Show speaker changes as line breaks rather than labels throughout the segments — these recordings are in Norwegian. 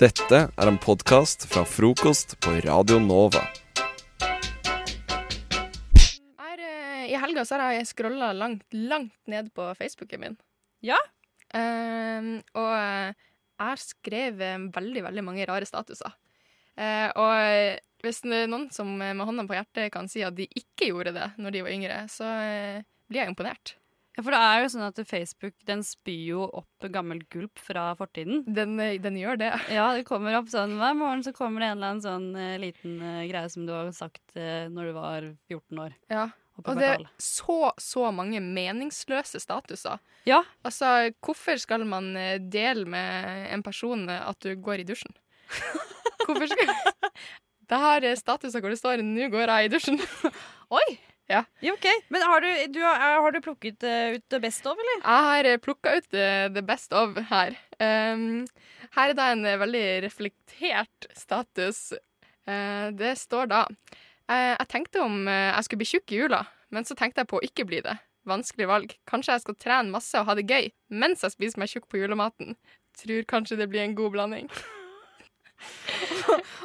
Dette er en podkast fra frokost på Radio Nova.
Her, eh, I helga så har jeg scrolla langt, langt ned på Facebooken min.
Ja?
Eh, og eh, jeg skrev eh, veldig, veldig mange rare statuser. Eh, og eh, hvis det er noen som eh, med hånda på hjertet kan si at de ikke gjorde det når de var yngre, så eh, blir jeg imponert.
Ja, for det er jo sånn at Facebook den spyr jo opp gammel gulp fra fortiden.
Den, eh, den gjør det.
Ja, det kommer opp sånn Hver morgen så kommer det en eller annen sånn eh, liten eh, greie som du har sagt eh, når du var 14 år.
Ja.
Og
Og det er så, så mange meningsløse statuser.
Ja,
Altså, hvorfor skal man eh, dele med en person eh, at du går i dusjen? Hvorfor skal Det har eh, statuser hvor det står 'nå går jeg i dusjen'.
Oi!
Ja.
Jo, ok. Men har du, du, har- har du plukket eh, ut det beste av, eller?
Jeg har plukka ut eh, the best of her. Um, her er da en eh, veldig reflektert status. Eh, det står da eh, Jeg tenkte om eh, jeg skulle bli tjukk i jula, men så tenkte jeg på å ikke bli det. Vanskelig valg. Kanskje jeg skal trene masse og ha det gøy mens jeg spiser meg tjukk på julematen. Tror kanskje det blir en god blanding.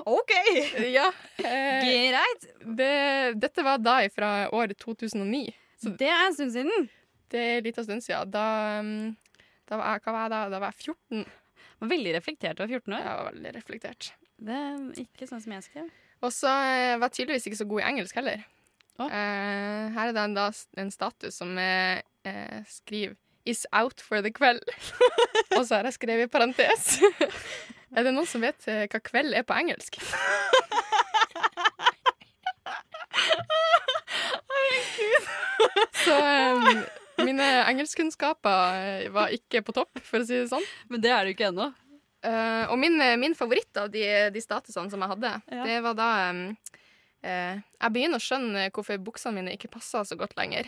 OK!
Ja. eh,
Greit.
det, dette var da fra året 2009. Så-
Det er en stund siden.
Det er en liten stund siden. Da, um, da, var jeg, hva var jeg da? da var jeg 14.
Var veldig reflektert over 14
Jeg
år.
var veldig reflektert.
Det er ikke sånn som jeg skrev.
Og så eh, var jeg tydeligvis ikke så god i engelsk heller.
Å.
Eh, her er det en, da, en status som eh, eh, skriver 'Is out for the kveld'. Og så har jeg skrevet i parentes. er det noen som vet eh, hva kveld er på engelsk? så eh, mine engelskkunnskaper eh, var ikke på topp, for å si det sånn.
Men det er det jo ikke ennå.
Eh, og min, min favoritt av de, de statusene som jeg hadde,
Ja.
det var da em, eh, Jeg begynner å skjønne hvorfor buksene mine ikke passer så godt lenger.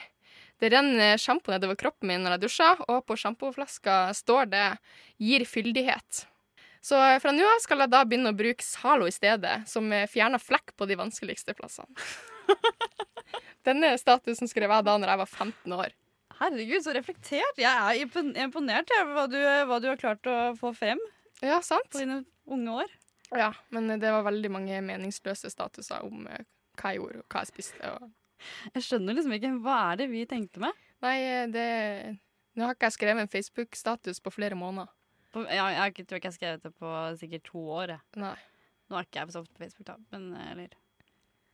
Det renner sjampo nedover kroppen min når jeg dusjer, og på sjampoflaska står det 'gir fyldighet'. Så eh, fra nå av skal jeg da begynne å bruke Zalo i stedet, som eh, fjerner flekk på de vanskeligste plassene. Denne statusen skrev jeg da når jeg var 15 år.
Herregud, så reflektert. Jeg er impon- imponert over hva, du- eh, hva du har klart å få frem
Ja, sant?
på dine unge år.
Ja, men det var veldig mange meningsløse statuser om eh, hva jeg gjorde, og hva jeg spiste. Og
Jeg skjønner liksom ikke hva er det vi tenkte med.
Nei, eh, det Nå har ikke jeg skrevet en Facebook-status på flere måneder.
På- Jeg, jeg, har ikke- tror ikke jeg har skrevet det på sikkert to år. jeg.
Nei.
Nå er ikke jeg på så ofte på Facebook, da. Men, eh, eller.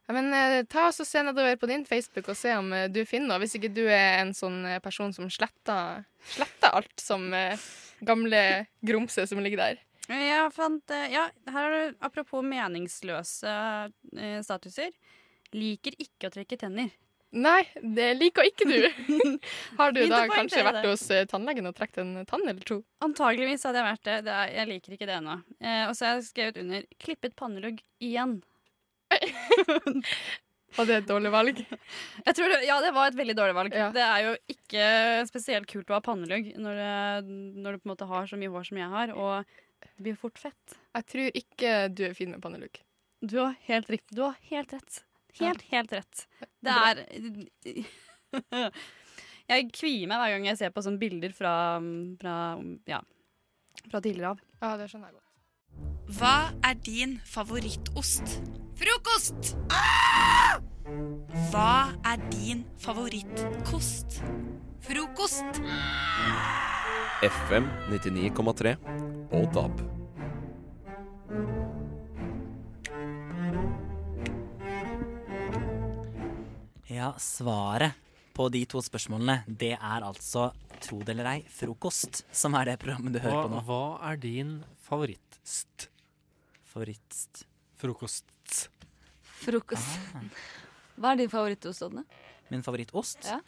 Ja, Men eh, ta oss og se nedover på din Facebook og se om eh, du finner noe. Hvis ikke du er en sånn eh, person som sletter, sletter alt som eh, gamle grumse som ligger der.
Jeg fant, eh, ja, her er det apropos meningsløse eh, statuser. Liker ikke å trekke tenner.
Nei, det liker ikke du. Har du
Fint å
da kanskje
poengtere
vært
det.
hos eh, tannlegen og trukket en tann eller to?
Antageligvis hadde jeg vært det. det er, jeg liker ikke det ennå. Eh, og så har jeg skrevet under 'klippet pannelugg igjen'.
Og det er et dårlig valg.
Jeg tror det, ja, det var et veldig dårlig valg.
Ja.
Det er jo ikke spesielt kult å ha pannelugg når, det- når du på en måte har så mye hår som jeg har, og det blir fort fett.
Jeg tror ikke du er fin med pannelugg.
Du har helt riktig. Du har helt rett. Helt, helt rett. Det er Jeg kvier meg hver gang jeg ser på sånne bilder fra, mm, fra, ja, fra tidligere av.
Ja, det skjønner jeg godt.
Hva er din favorittost? Frokost! Hva er din favorittkost? Frokost!
FM 99,3 og DAB.
Ja, svaret på de to spørsmålene, det er altså, tro det eller ei, frokost, som er det programmet du hører på
Hva,
nå.
hva er din favorittst?
Favorittst.
Frokost.
Frokost. Hva er din favorittost, Odne?
Min favorittost?
Ja.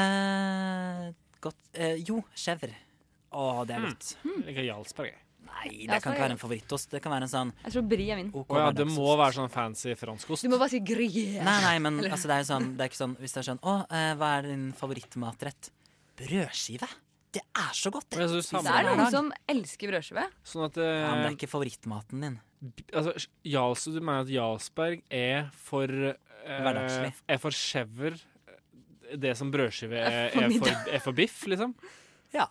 Eh, godt eh, Jo, chèvre. Å, det
Hmm.
er godt.
Eller Jarlsberg.
Nei, det
Ja,
kan
sorry.
ikke være en favorittost. Det kan være en sånn
Jeg tror brie er min.
OK
Å ja, det må
hverdagsost.
være sånn fancy franskost.
Du må bare si gruyère.
Nei, nei, men altså, det er jo sånn, det er ikke sånn Hvis det er sånn Å, eh, hva er din favorittmatrett? Brødskive. Det er så godt,
Men
det.
jeg synes
Spiser
Det
sammen
er
det hver
noen
dag.
som elsker brødskive.
Sånn at
Ja, men det
eh,
er ikke favorittmaten din.
altså, Jarls, Du mener at Jarlsberg er for eh,
Hverdagslig.
Er for skjever eh, det som brødskive er,
for
er, for, er for biff, liksom?
Ja,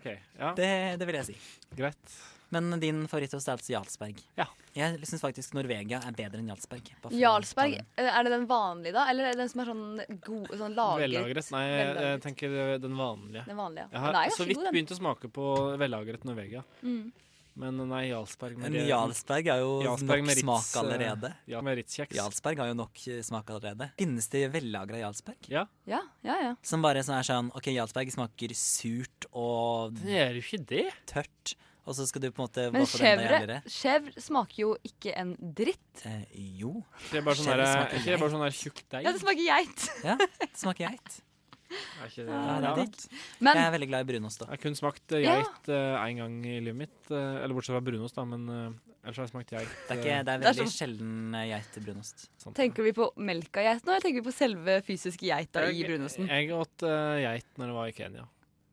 OK. Ja,
det, det vil jeg si.
greit.
Men din favorittost er altså Jarlsberg.
Ja.
Jeg syns faktisk Norvegia er bedre enn Jarlsberg. Bare for å
Jarlsberg, eh,
ta den.
er det den vanlige da? Eller er det den som er sånn god, sånn lagret?
Vellagret. Nei, jeg, jeg
Vellagret.
tenker den vanlige.
Den vanlige.
Jeg har
den er
så
ganske
vidt
god, den.
begynt å smake på vellagret Norvegia.
Mm.
Men nei, Jarlsberg
Men Jarlsberg er jo
Jarlsberg
nok
med Ritz,
smak
eh,
allerede.
Ja, med Ritz-kjeks.
Jarlsberg har jo nok eh, smak allerede. Finnes det vellagra Jarlsberg?
Ja,
Ja, ja, ja.
Som bare sånn er sånn OK, Jarlsberg smaker surt og
det er jo ikke det.
tørt, og så skal du på en måte
Men
gå for den der
chèvre chèvre smaker jo ikke en dritt.
Eh, jo.
Det er bare sånn
Skjeve
der,
smaker
er ikke det bare sånn der tjukk deig.
Ja, det smaker geit.
Ja, det smaker geit.
Er ikke det-
Ja, det er
ja.
godt. Jeg
Men
er veldig glad i brunost òg.
Jeg har kun smakt eh,
Ja.
geit én gang i livet mitt. eh, Eller bortsett fra brunost, da, men eh, ellers har jeg smakt geit.
Det, er ikke- det er
Det er sånn-
veldig sjelden eh, geit til brunost.
sånn.
tenker vi på melka geit nå, eller tenker vi på selve fysiske geita i
Jeg-
brunosten?
Jeg åt eh, geit når jeg var i Kenya.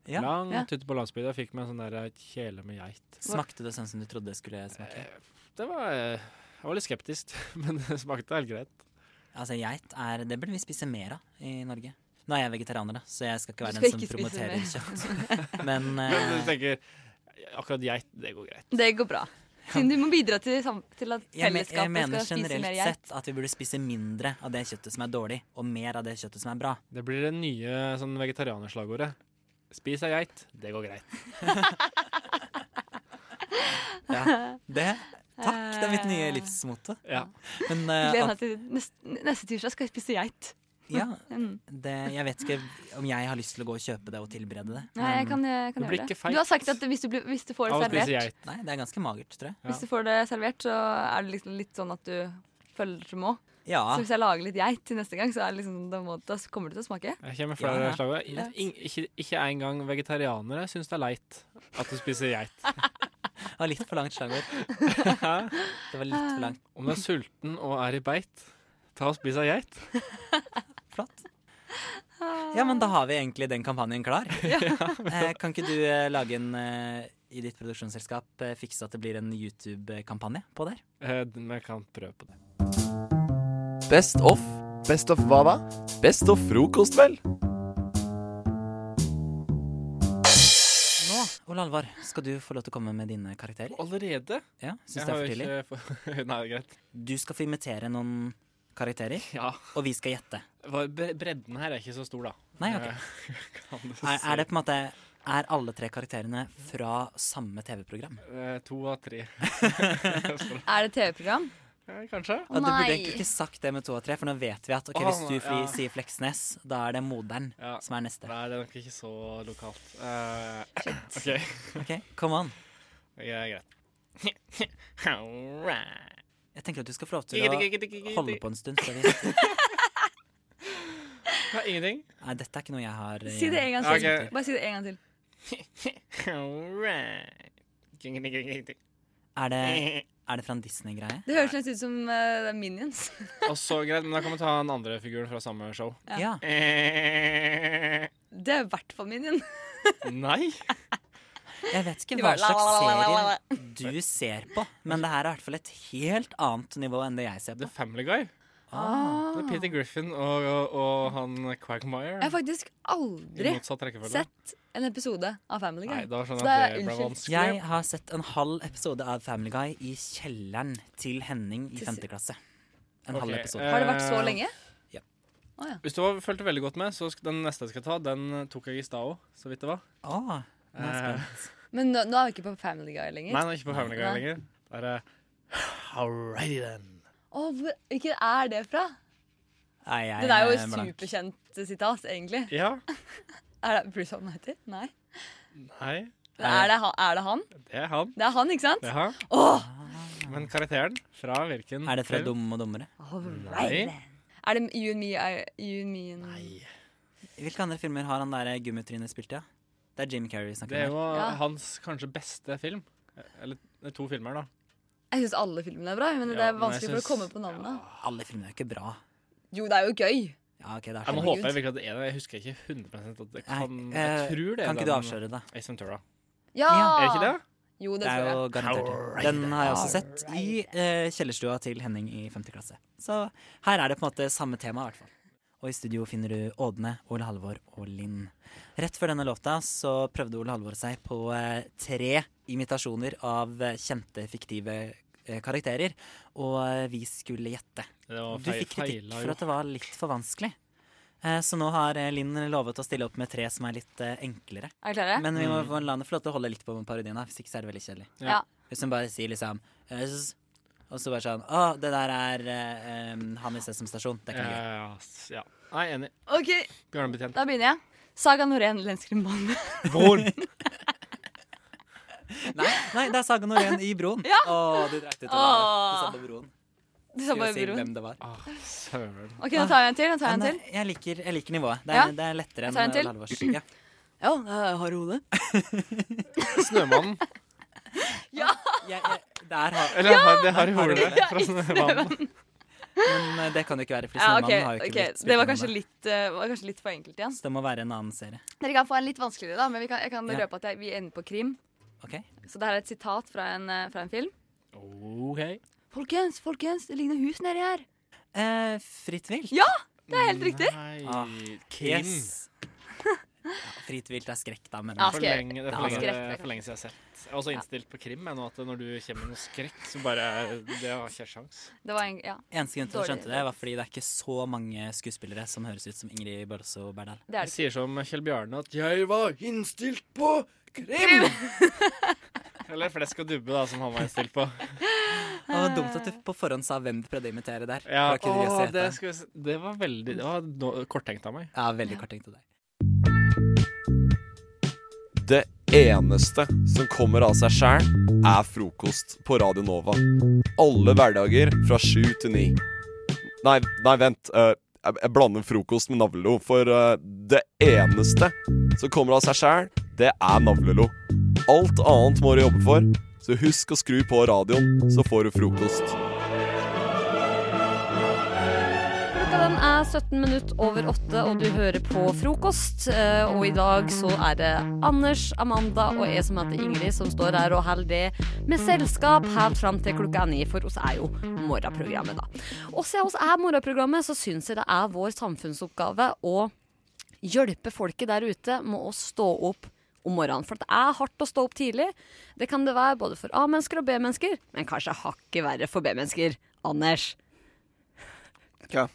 Ja.
Langt
Ja.
ute på landsbygda fikk meg en sånn der kjele med geit.
Smakte det sånn som du trodde det skulle smake?
Eh, Det var eh, Jeg var litt skeptisk, men det smakte helt greit.
Altså, geit er Det burde vi spise mer av i Norge. Nå er jeg vegetarianer, da, så jeg skal ikke være
Du
den
skal
som
ikke spise
promoterer kjøtt. Men
Men du
eh,
tenker akkurat geit, det går greit.
Det går bra. Siden du må bidra til, sam- til at
jeg, me- jeg
fellesskapet
mener
skal spise mer
generelt
geit.
sett at vi burde spise mindre av det kjøttet som er dårlig, og mer av det kjøttet som er bra.
Det blir det nye sånn vegetarianerslagordet. Spis ei geit, det går greit.
Det Takk, det er mitt nye livsmotto.
Ja.
Men eh,
Gleder
at,
meg til neste, neste tirsdag skal jeg spise geit.
ja,
Mm.
det, jeg vet ikke om jeg har lyst til å gå og kjøpe det og tilberede det.
Nei, jeg kan, jeg kan
Um, Det blir
gjøre det.
ikke feit.
Du har sagt at hvis du, blir, hvis du får det
Av å spise
servert,
geit.
Nei, det er ganske magert, tror jeg.
Ja.
hvis du får det servert, så er det liksom litt sånn at du føler du må.
Ja,
Så hvis jeg lager litt geit til neste gang, så er det liksom, da, må, da kommer det til å smake.
Jeg kommer med flere
Ja, ja.
slagord. In, ikke ikke engang vegetarianere syns det er leit at du spiser geit.
det var litt for langt slagord. Det var litt for langt.
Om du er sulten og er i beit, ta og spis ei geit.
Flott. Ja, men da har vi egentlig den kampanjen klar. Eh, kan ikke du eh, lage en eh, i ditt produksjonsselskap, eh, fikse at det blir en YouTube-kampanje på der?
Eh, Men jeg kan prøve på det.
Best of.
Best of hva da?
Best of frokost, vel?
Nå, Ole Alvar, skal du få lov til å komme med dine karakterer?
Allerede?
Ja, synes det
Jeg
er
har
for tidlig.
ikke få- Nei, det er greit.
Du skal få imitere noen karakterer,
Ja.
og vi skal gjette.
Hva- bre- Bredden her er ikke så stor, da.
Nei, ok.
Eh, Kan du
Er,
si.
er det på en måte Er alle tre karakterene fra samme TV-program?
Eh, To av tre.
Er det TV-program?
Eh, Kanskje.
Ja, Du burde
nei.
egentlig ikke sagt det med to og tre, for nå vet vi at ok,
Å,
hvis du
nei,
fri,
ja.
sier Fleksnes, da er det moderen
Ja.
som er neste.
Nei, det er nok ikke så lokalt. Eh, OK.
Ok, Come on.
Det er greit. All right.
Jeg tenker at du skal få lov til å holde på en stund. Før vi...
Nei, ingenting.
Nei, dette er ikke noe jeg har eh,
Si det en gang
Ja,
til.
ok.
Bare si det en gang til.
All right.
Er det, er det fra en sånn Disney-greie?
Det høres nesten ut som eh, det er Minions.
Og så greit, men da kan vi ta den andre figuren fra samme show. Eh.
Ja.
Ja.
Nei!
Det er i hvert fall Minion.
Jeg vet ikke
Du
hva
bare la,
slags
la, la, la, la,
serie du ser på, men det her er i hvert fall et helt annet nivå enn det jeg ser
The
på.
Family Guy.
Ah.
Det er Peter Griffin og, og, og han Quagmire.
Jeg har faktisk
I
aldri
motsatt rekkefølge.
sett en episode av Family
Nei,
Guy.
da
Så
skjønner jeg at
det er-
det ble
unnskyld.
vanskelig.
Jeg har sett en halv episode av Family Guy i kjelleren til Henning i
Til-
femte klasse. En
Ok,
halv episode.
eh,
Har det vært så lenge?
ja.
Å, ja.
Hvis du har fulgt veldig godt med, så sk- den neste jeg skal ta, den tok jeg i stad òg, så vidt det var.
Åh, Ah, nå er jeg
Eh,
spent.
Men nå, nå er vi ikke på Family Guy
Nei,
lenger.
den er ikke på Family Guy
Nei.
lenger. Det er eh, Alrighty then.
Å, hvor, hvilken er det fra?
Nei, jeg
Det er jo
er
et
blank.
superkjent sitat, egentlig.
Ja.
Er det Bruce Almighty? Nei.
Nei,
Men Er det, han- er det han?
det er han.
Det er han, ikke sant?
Det er han.
Åh!
Men karakteren fra hvilken
Er det fra
film?
Dumme og dummere?
Nei.
Er det You and Me, I, you and me and...
Nei.
Hvilke andre filmer har han der gummitrynet spilt i? Ja? Det er Jim Carrey vi
Det er
snakker om.
jo
Ja.
hans kanskje beste film. Eller det er to filmer, da.
Jeg syns alle filmene er bra, men det
Ja,
er
men
vanskelig
jeg
for å
synes-
komme på navnene.
her. Alle filmer er jo ikke bra.
Jo, det er jo gøy.
Ja, ok, det
Ja,
er
nå
sånn.
Herregud.
håper jeg virkelig at det er det. Jeg husker ikke 100 at det kan
Nei, eh,
Jeg tror det er
Kan ikke du avsløre det?
Ace Ventura.
Ja!
Ja.
Er det ikke det?
Jo, det
Det
tror
er
jeg.
jo garantert det. Den har jeg også sett i eh, kjellerstua til Henning i 5. klasse. Så her er det på en måte samme tema, i hvert fall. Og i studio finner du Ådne, Ole Halvor og Linn. Rett før denne låta så prøvde Ole Halvor seg på eh, tre imitasjoner av eh, kjente, fiktive eh, karakterer. Og eh, vi skulle gjette.
Det var
Du
feil,
fikk kritikk
feila
for
jo.
at det var litt for vanskelig. Eh, Så nå har eh, Linn lovet å stille opp med tre som er litt eh, enklere.
Er dere klare?
Men vi må
Mm.
få la henne få lov til å holde litt på parodien her, hvis ikke så er det veldig kjedelig.
Ja.
Ja.
Hvis hun bare sier liksom «Øss», Og så bare sånn Å, det der er eh, em, han i Sesam stasjon. Det er ikke noe gøy.
Ja, s- ja. Nei, enig.
Ok,
Bjørnebetjent.
da begynner jeg. Saga Norén, Lenskrimbanen.
Bror!
Nei, nei, det er Saga Norén i Broen. Å, du dreit ut av det. Du sa på Broen.
Du sa
Skulle
bare
si
broen.
hvem det var.
Ah, søren.
Ok, nå tar jeg en til. Nå tar jeg en
Men,
til.
eh, jeg, liker, jeg liker nivået. Det er,
Ja.
det er lettere
Jeg tar en
enn
til.
Lalvors. Ja.
Ja, det er harde hode.
Snømannen.
Jeg, jeg, det er har-
Eller har, det har i
Har du
hodet
det?
fra Snømannen.
Men eh, det kan det ikke være, for
Ja,
Snømannen
ok,
har jo ikke
ok.
blitt spilt
Det var
inn
kanskje
ennå.
litt, eh, var kanskje litt for enkelt igjen.
Så det må være en annen serie.
Dere kan få en litt vanskeligere, da, men vi kan, jeg kan
Ja.
røpe at jeg, vi ender på krim.
Ok?
Så det her er et sitat fra en, eh, fra en film.
OK.
Folkens, folkens, det ligner hus nedi her.
Eh, fritt vilt.
Ja, Det er helt riktig.
Ah,
Nei. Krim.
Yes. Ja, fritt vilt er skrekk, da, men
Ja,
For
skrekk.
lenge, det er for
Ja,
lenge,
skrekk, det
for lenge siden jeg har sett. Jeg er også innstilt på krim. Jeg, nå, at når du kommer med noe skrekk, så bare Det har ikke jeg sjans.
Det var en, ja,
eneste grunn til at jeg
Dårlig
skjønte det, var fordi det er ikke så mange skuespillere som høres ut som Ingrid Børso Berdal.
det er det
Jeg
ikke.
sier som Kjell Bjarne at 'jeg var innstilt på krim'. Eller flesk og dubbe, da, som han var innstilt på.
Og dumt at du på forhånd sa hvem du prøvde å imitere der.
Ja,
Da kunne vi også
å,
gjette.
det, skal vi se. det var veldig Det var no- korttenkt av meg.
ja veldig korttenkt av deg.
Det eneste som kommer av seg sjæl, er frokost på Radio Nova. Alle hverdager fra sju til ni. Nei, nei, vent. eh, jeg, jeg blander frokost med navlelo. For eh, det eneste som kommer av seg sjæl, det er navlelo. Alt annet må du jobbe for, så husk å skru på radioen, så får du frokost.
Klokka den er 17 minutt over 8, og du hører på frokost. Eh, Og i dag så er det Anders, Amanda og jeg som heter Ingrid som står her og holder det med selskap helt fram til klokka er ni, for oss er jo morgenprogrammet, da. Og siden oss er morgenprogrammet, så syns jeg det er vår samfunnsoppgave å hjelpe folket der ute med å stå opp om morgenen. For det er hardt å stå opp tidlig. Det kan det være både for A-mennesker og B-mennesker, men kanskje hakket verre for B-mennesker. Anders.
Hva?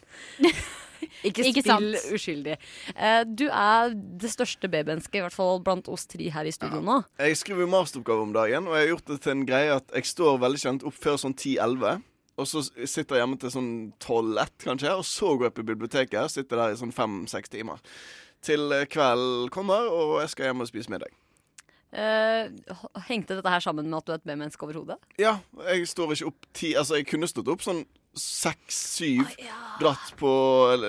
Ikke
Ikke
spill
sant.
uskyldig. Eh, Du er det største B-mennesket, i hvert fall blant oss tre her i studio nå.
Jeg skriver jo masteroppgave om dagen, og jeg har gjort det til en greie at jeg står veldig kjent opp før sånn 10-11. Og så sitter jeg hjemme til sånn 12-1, kanskje, og så går jeg på biblioteket og sitter der i sånn 5-6 timer. Til eh, kvelden kommer, og jeg skal hjem og spise middag.
Eh, h- Hengte dette her sammen med at du er et B-menneske overhodet?
Ja, jeg står ikke opp ti Altså, jeg kunne stått opp sånn seks-syv, dratt på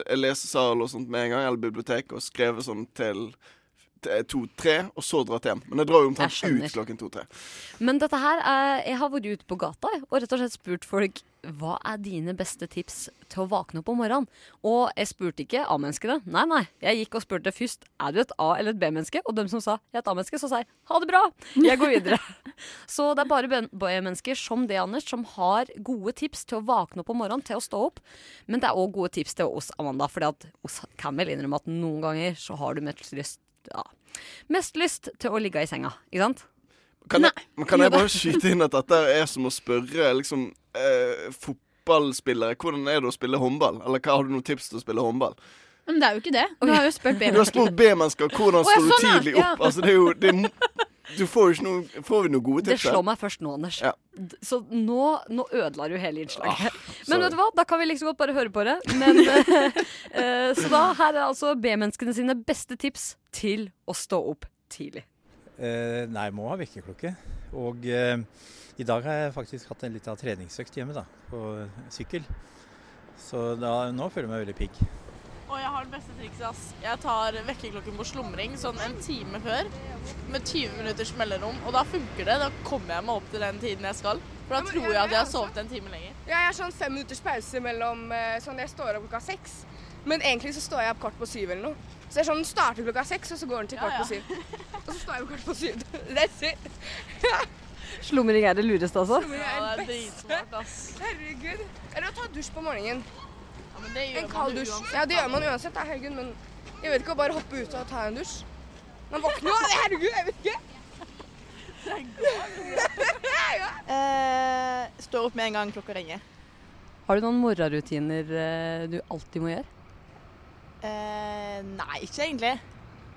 en lesesal og sånt med en gang, eller bibliotek, og skrevet sånn til til to-tre, og så dratt hjem. Men jeg drar jo omtrent
Jeg skjønner.
ut klokken to-tre.
Men dette her er, jeg har vært ute på gata jeg, og rett og slett spurt folk hva er dine beste tips til å våkne opp om morgenen. Og jeg spurte ikke A-menneskene. Nei, nei. Jeg gikk og spurte først er du et A- eller et B-menneske. Og de som sa jeg er et A-menneske, så sa jeg ha det bra, jeg går videre. så det er bare ben- B-mennesker som det, Anders, som har gode tips til å våkne opp om morgenen, til å stå opp. Men det er òg gode tips til oss, Amanda. For oss kan vel innrømme at noen ganger så har du mest lyst, ja, mest lyst til å ligge i senga, ikke sant?
Kan jeg, men kan
Jo
jeg
da.
bare skyte inn at dette er som å spørre liksom, eh, fotballspillere Hvordan er det å spille håndball? Eller hva har du noen tips til å spille håndball?
Men det er jo ikke det. Du har jo spurt
Du har
babyen.
spurt B-mennesker hvordan
Å, ja,
står du
sånn, ja.
tidlig
Ja.
opp. Altså, det er jo det er, mo- Du får jo ikke noe Får vi noen gode
Det
tips? her?
slår meg først nå, Anders.
Ja.
D- Så nå, nå ødela du hele innslaget. Men
Ah, sorry.
vet du hva, da kan vi liksom godt bare høre på det. Men, eh, eh, så da, her er altså B-menneskene sine beste tips til å stå opp tidlig.
Eh, nei, må ha vekkerklokke. Og eh, i dag har jeg faktisk hatt en liten treningsøkt hjemme, da, på sykkel. Så da, nå føler jeg meg veldig pigg.
Og jeg har det beste trikset, ass. Jeg tar vekkerklokken på slumring sånn en time før, med 20 minutters mellomrom, og da funker det. Da kommer jeg meg opp til den tiden jeg skal. For da
men
tror
jeg-
jeg at jeg
jeg
har
også.
sovet en time lenger.
Ja, jeg har sånn fem minutters pause mellom eh, Sånn jeg står opp klokka seks, men egentlig så står jeg opp kvart på syv eller noe. Så jeg sånn den starter klokka seks, og så går den til
Ja,
kvart
ja.
på syv. Og så står jeg opp kvart på syv. That's it.
Slumring er det lureste, altså.
Men jeg
Ja,
er
det er
den beste.
dritsmart, ass.
Herregud. Eller å ta dusj på morgenen.
men det gjør
En
man
kald
jo
dusj.
uansett,
Ja, det gjør
da.
man uansett, da, herregud, men jeg vet ikke å bare hoppe ut og ta en dusj. Man våkner jo av det, herregud, jeg vet ikke.
Eh, står opp med en gang klokka ringer.
Har du noen morgenrutiner eh, du alltid må gjøre?
Eh, nei, ikke egentlig.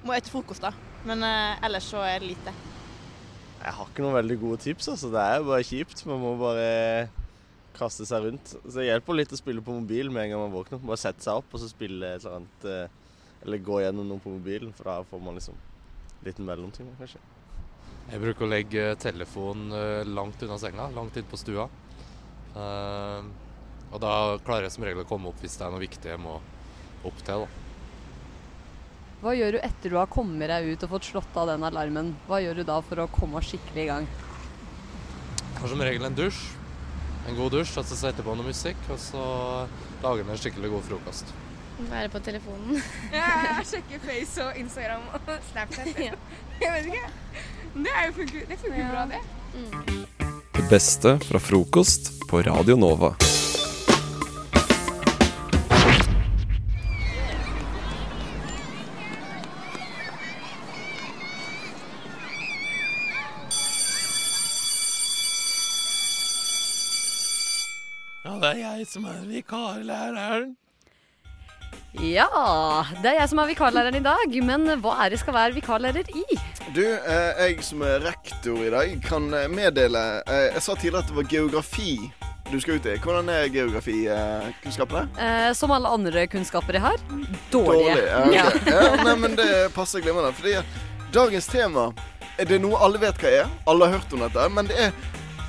Må spise frokost, da. Men eh, ellers så er det lite.
Jeg har ikke noen veldig gode tips, altså. Det er jo bare kjipt. Man må bare kaste seg rundt. Så det hjelper litt å spille på mobil med en gang man våkner. Bare sette seg opp og så spille et eller annet eh, Eller gå gjennom noe på mobilen, for da får man liksom en liten mellomting, kanskje.
Jeg bruker å legge telefonen eh, langt unna senga, langt inn på stua. Eh, og da klarer jeg som regel å komme opp hvis det er noe viktig jeg må opp til. Da.
Hva gjør du etter du har kommet deg ut og fått slått av den alarmen? Hva gjør du da for å komme skikkelig i gang?
Jeg har som regel en dusj, en god dusj, altså setter på noe musikk, og så lager jeg meg en skikkelig god frokost.
Være på telefonen.
Ja, jeg sjekker Face og Instagram og Snapchat. Jeg vet ikke. Men Det, er jo funker, det funker bra, det.
Mm.
Det beste fra frokost på Radio Nova.
Ja, det er jeg som er vikarlæreren.
Ja, det er jeg som er vikarlæreren i dag, men hva er det skal være vikarlærer i?
Du, eh, jeg som er rektor i dag, kan eh, meddele eh, Jeg sa tidligere at det var geografi du skal ut i. Hvordan er geografikunnskapene?
Eh, som alle andre kunnskaper jeg har, dårlige.
Dårlig. Ja, ok. ja, nei, men det passer glimrende. Fordi dagens tema er det noe alle vet hva er. Alle har hørt om dette. Men det er,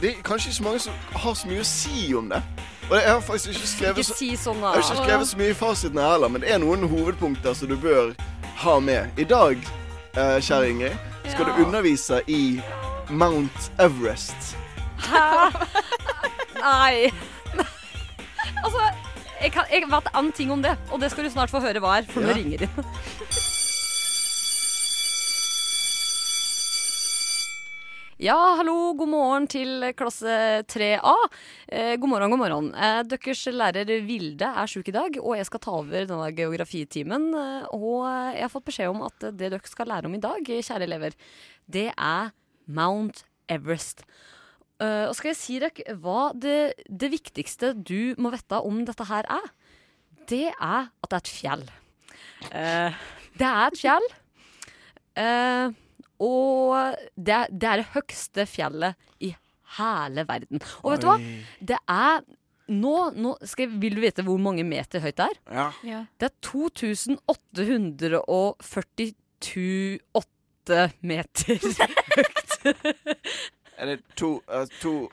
det er kanskje ikke så mange som har så mye å si om det. Og jeg har faktisk ikke skrevet
Ikke si sånn, da.
jeg har ikke skrevet så mye i fasiten her heller, men det er noen hovedpunkter som du bør ha med. I dag, eh, kjære Ingrid, skal du
Ja.
undervise i Mount Everest.
Hæ? Nei. Altså, jeg, kan, jeg vet en ting om det, og det skal du snart få høre hva er, for nå
Ja.
ringer det. Ja, hallo, god morgen til klasse 3A. Eh, god morgen, god morgen. Eh, deres lærer Vilde er sjuk i dag, og jeg skal ta over denne geografitimen. eh, Og jeg har fått beskjed om at det dere skal lære om i dag, kjære elever, det er Mount Everest. Eh, og skal jeg si dere hva det, det viktigste du må vite om dette her er? Det er at det er et fjell. Eh, det er et fjell. Eh, og det, er- det er det høyeste fjellet i hele verden. Og vet du hva?
Oi.
Det er Nå, nå skal, jeg- vil du vite hvor mange meter høyt det er?
Ja.
Det er 2848 meter høyt.
Er det to, eh, to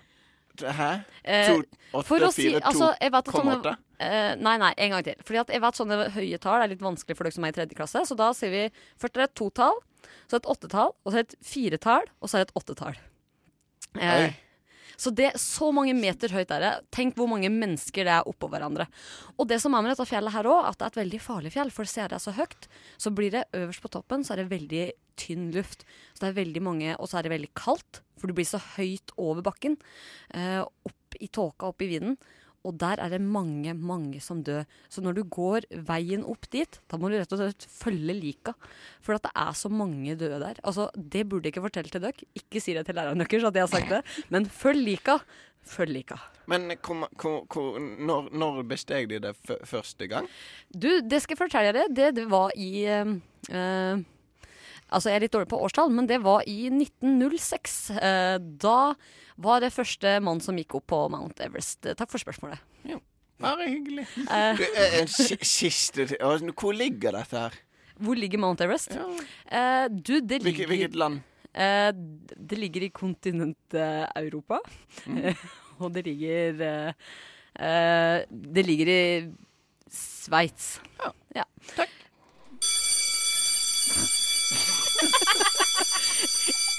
Hæ?
Eh,
To, åtte,
for å si,
fire, to,
altså, jeg vet at
komma
sånne-
åtte?
Eh, nei, nei, en gang til. Fordi at jeg vet sånne høye tall er litt vanskelig for dere som er i tredje klasse. Så da sier vi først er det et totall, så et åttetall, og så et firetall, og så er det et åttetall. Eh,
Oi.
så det så mange meter høyt er det. Tenk hvor mange mennesker det er oppå hverandre. Og det som er med dette fjellet her òg, at det er et veldig farlig fjell. For siden det er så høyt, så blir det øverst på toppen, så er det veldig tynn luft. Så det er veldig mange, og så er det veldig kaldt, for du blir så høyt over bakken. Eh, opp i tåka, opp i vinden. Og der er det mange, mange som dør. Så når du går veien opp dit, da må du rett og slett følge lika. For at det er så mange døde der. Altså, Det burde jeg ikke fortelle til dere. Ikke si det til læreren deres at jeg har sagt det. Men følg lika. Følg lika.
Men kom, kom, kom, når, når besteg de det fø- første gang?
Du, det skal jeg fortelle dere. Det, det var i eh, eh, Altså, jeg er litt dårlig på årstall, men det var i 1906. Eh, da var det første mann som gikk opp på Mount Everest. Eh, Takk for spørsmålet.
Bare hyggelig.
Eh.
Det er en si- siste ti- altså, Hvor ligger dette her?
Hvor ligger Mount Everest? Eh, du, det ligger
Hvilket, hvilket land?
Eh, d- det ligger i kontinentet Europa.
Mm.
og det ligger eh, eh, Det ligger i Sveits. Ja. Takk.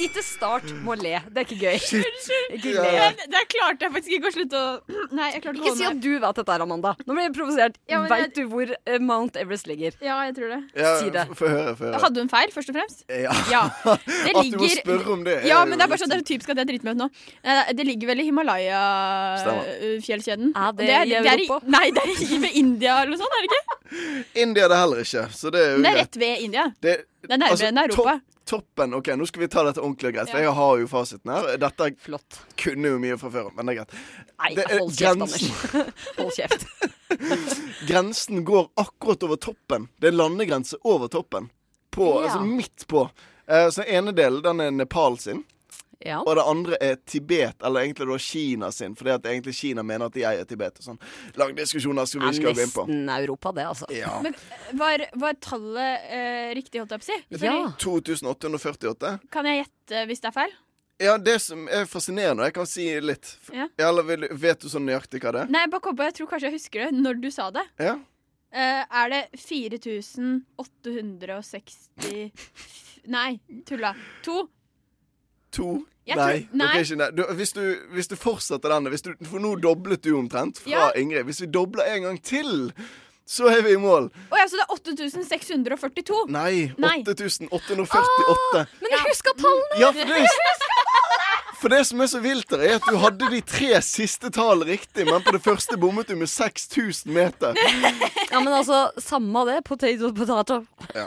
Ikke start med å le. Det er ikke gøy. Ikke le.
Men der klarte jeg faktisk ikke å slutte å Nei, jeg klarte å
Ikke si at du vet dette her, Amanda. Nå blir jeg provosert.
Ja, men jeg-
Veit du hvor eh, Mount Everest ligger?
Ja, jeg tror det.
Ja,
si det.
Få høre, få høre.
Hadde hun feil, først og fremst?
Ja.
Det
At du må
ligger-
spørre om det, er
Ja,
jo
men det er bare
litt
sånn, det er så typisk at jeg driter meg ut nå. Eh, Det ligger vel i Himalaya-fjellkjeden. Ja,
det
er-
i
det er i, nei, det er i ved India eller noe sånt, er det ikke?
India er det heller ikke, så det er jo
sånn- Det er
greit.
rett ved India.
Det, altså,
Det er nærmere enn Europa.
topp- toppen, ok, Nå skal vi ta dette ordentlig og greit, for
Ja.
jeg har jo fasiten her. Dette kunne jo mye fra før av, men det er greit.
Nei,
Det er
hold kjeft,
grensen.
Anders. Hold kjeft.
Grensen går akkurat over toppen. Det er landegrense over toppen. På,
Ja.
Altså midt på. Eh, så den ene delen den er Nepal sin.
Ja.
Og det andre er Tibet, eller egentlig da Kina sin. Fordi at egentlig Kina mener at de eier Tibet. og sånn. Lang diskusjoner som vi
Det
ikke skal
er
gå inn på.
nesten Europa, det, altså.
Ja.
Men eh, var, var tallet eh, riktig, holdt jeg på å si? Fordi-
2848.
Kan jeg gjette hvis det er feil?
Ja, det som er fascinerende Jeg kan si litt.
Ja.
Eller vil, vet du sånn nøyaktig hva det er?
Nei, bare kom på, jeg tror kanskje jeg husker det når du sa det.
Ja.
Eh, er det 4860 Nei, tulla. To?
To?
Jeg
nei.
tror- nei.
dere er ikke nei. Du, hvis, du, hvis du fortsetter denne hvis du, For nå doblet du omtrent fra
Ja.
Ingrid. Hvis vi dobler en gang til, så er vi i mål.
Å ja, så det er 8642.
Nei.
Nei.
8848.
Men jeg huska tallene!
Ja, for det- For det som er så vilt, der, er at du hadde de tre siste tallene riktig, men på det første bommet du med 6000 meter.
Ja, men altså, samme av det. Potato, potato.
Ja.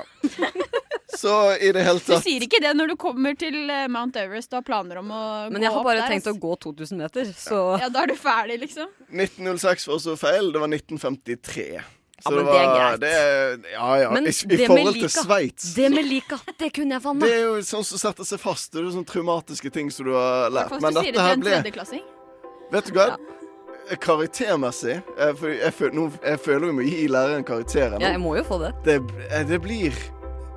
Så i det hele
Du
tatt
sier ikke det når du kommer til eh, Mount Everest og har planer om å
Men
gå
jeg har
opp
bare
der,
tenkt å
ass.
gå 2000 meter, så
Ja, da er du ferdig, liksom.
1906 var også feil. Det var 1953.
Ja, men det er greit.
det er- ja, ja.
Men
I,
det
i
med
forhold til
lika,
Sveits.
Det med lika, det kunne jeg vanna.
Det er jo sånn som setter seg fast. Det er jo sånne traumatiske ting som du har lært.
Hvordan
Men
du sier
dette
det
her
til en
ble
tredjeklassing?
Vet du hva? Eh, Karaktermessig eh, For jeg, føl, nå, jeg føler vi må gi læreren karakterer nå.
Ja, jeg må jo få det.
Det, eh, det blir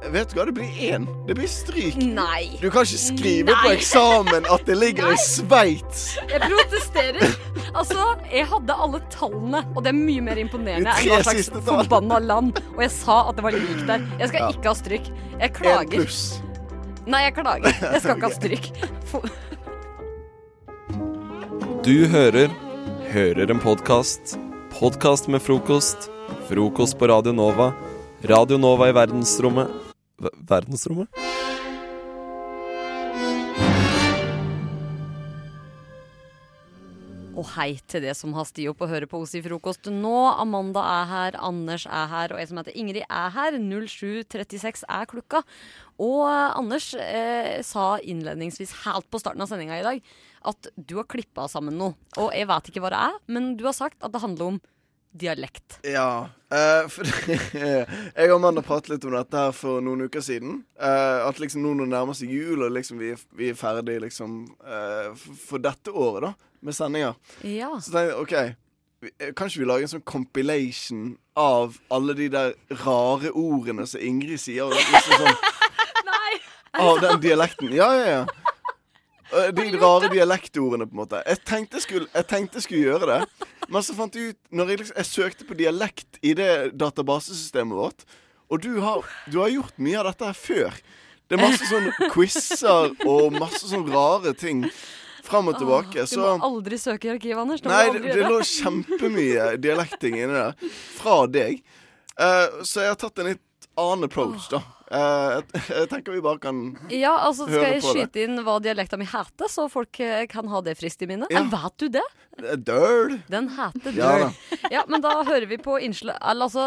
Vet du hva? Det blir én. Det blir stryk.
Nei.
Du kan ikke skrive på
Nei.
eksamen at det ligger i Sveits.
Jeg protesterer. Altså, jeg hadde alle tallene, og det er mye mer
De
imponerende enn
tre
hva slags
siste tall.
forbanna land. Og jeg sa at det var lik der. Jeg skal
Ja.
ikke ha stryk. Jeg
Én
klager.
pluss.
Nei, jeg klager. Jeg skal ikke ha stryk. For-
Du hører Hører en podkast. Podkast med frokost. Frokost på Radio Nova. Radio Nova i verdensrommet Ver- Verdensrommet?
Og hei til det som har sti opp og hører på oss i frokost nå. Amanda er her, Anders er her, og jeg som heter Ingrid er her. 07.36 er klokka. Og eh, Anders eh, sa innledningsvis helt på starten av sendinga i dag at du har klippa sammen noe. Og jeg vet ikke hva det er, men du har sagt at det handler om dialekt.
Ja. eh, for jeg og Amanda pratet litt om dette her for noen uker siden. Eh, at liksom nå når det nærmer seg jul, og liksom vi, vi er ferdig liksom eh, for, for dette året, da, med sendinger,
Ja.
så tenkte jeg OK vi- eh, kan ikke vi lage en sånn compilation av alle de der rare ordene som Ingrid sier? Og liksom sånn,
Altså,
av den dialekten. Ja, ja, ja. Eh, De rare dialektordene, på en måte. Jeg tenkte jeg skulle, jeg tenkte jeg skulle gjøre det, men så fant jeg ut Når jeg, liksom, jeg søkte på dialekt i det databasesystemet vårt, og du har, du har gjort mye av dette her før. Det er masse sånn quizer og masse sånn rare ting fram og tilbake.
Ah, Du
Så
må aldri søke i arkivet, Anders. Det må
Nei,
du
det,
aldri
det
gjøre.
lå kjempemye dialekting inni der. Fra deg. Eh, så jeg har tatt en litt annen approach, da. Eh, jeg, jeg tenker vi bare kan
Ja, altså Skal
høre
jeg
på det.
skyte inn hva dialekta mi heter, så folk eh, kan ha det friskt i minnet?
Ja.
Eh, Vet du det?
Døl.
Den heter
Ja
Døl. Ja, men da hører vi på innslag Eller altså,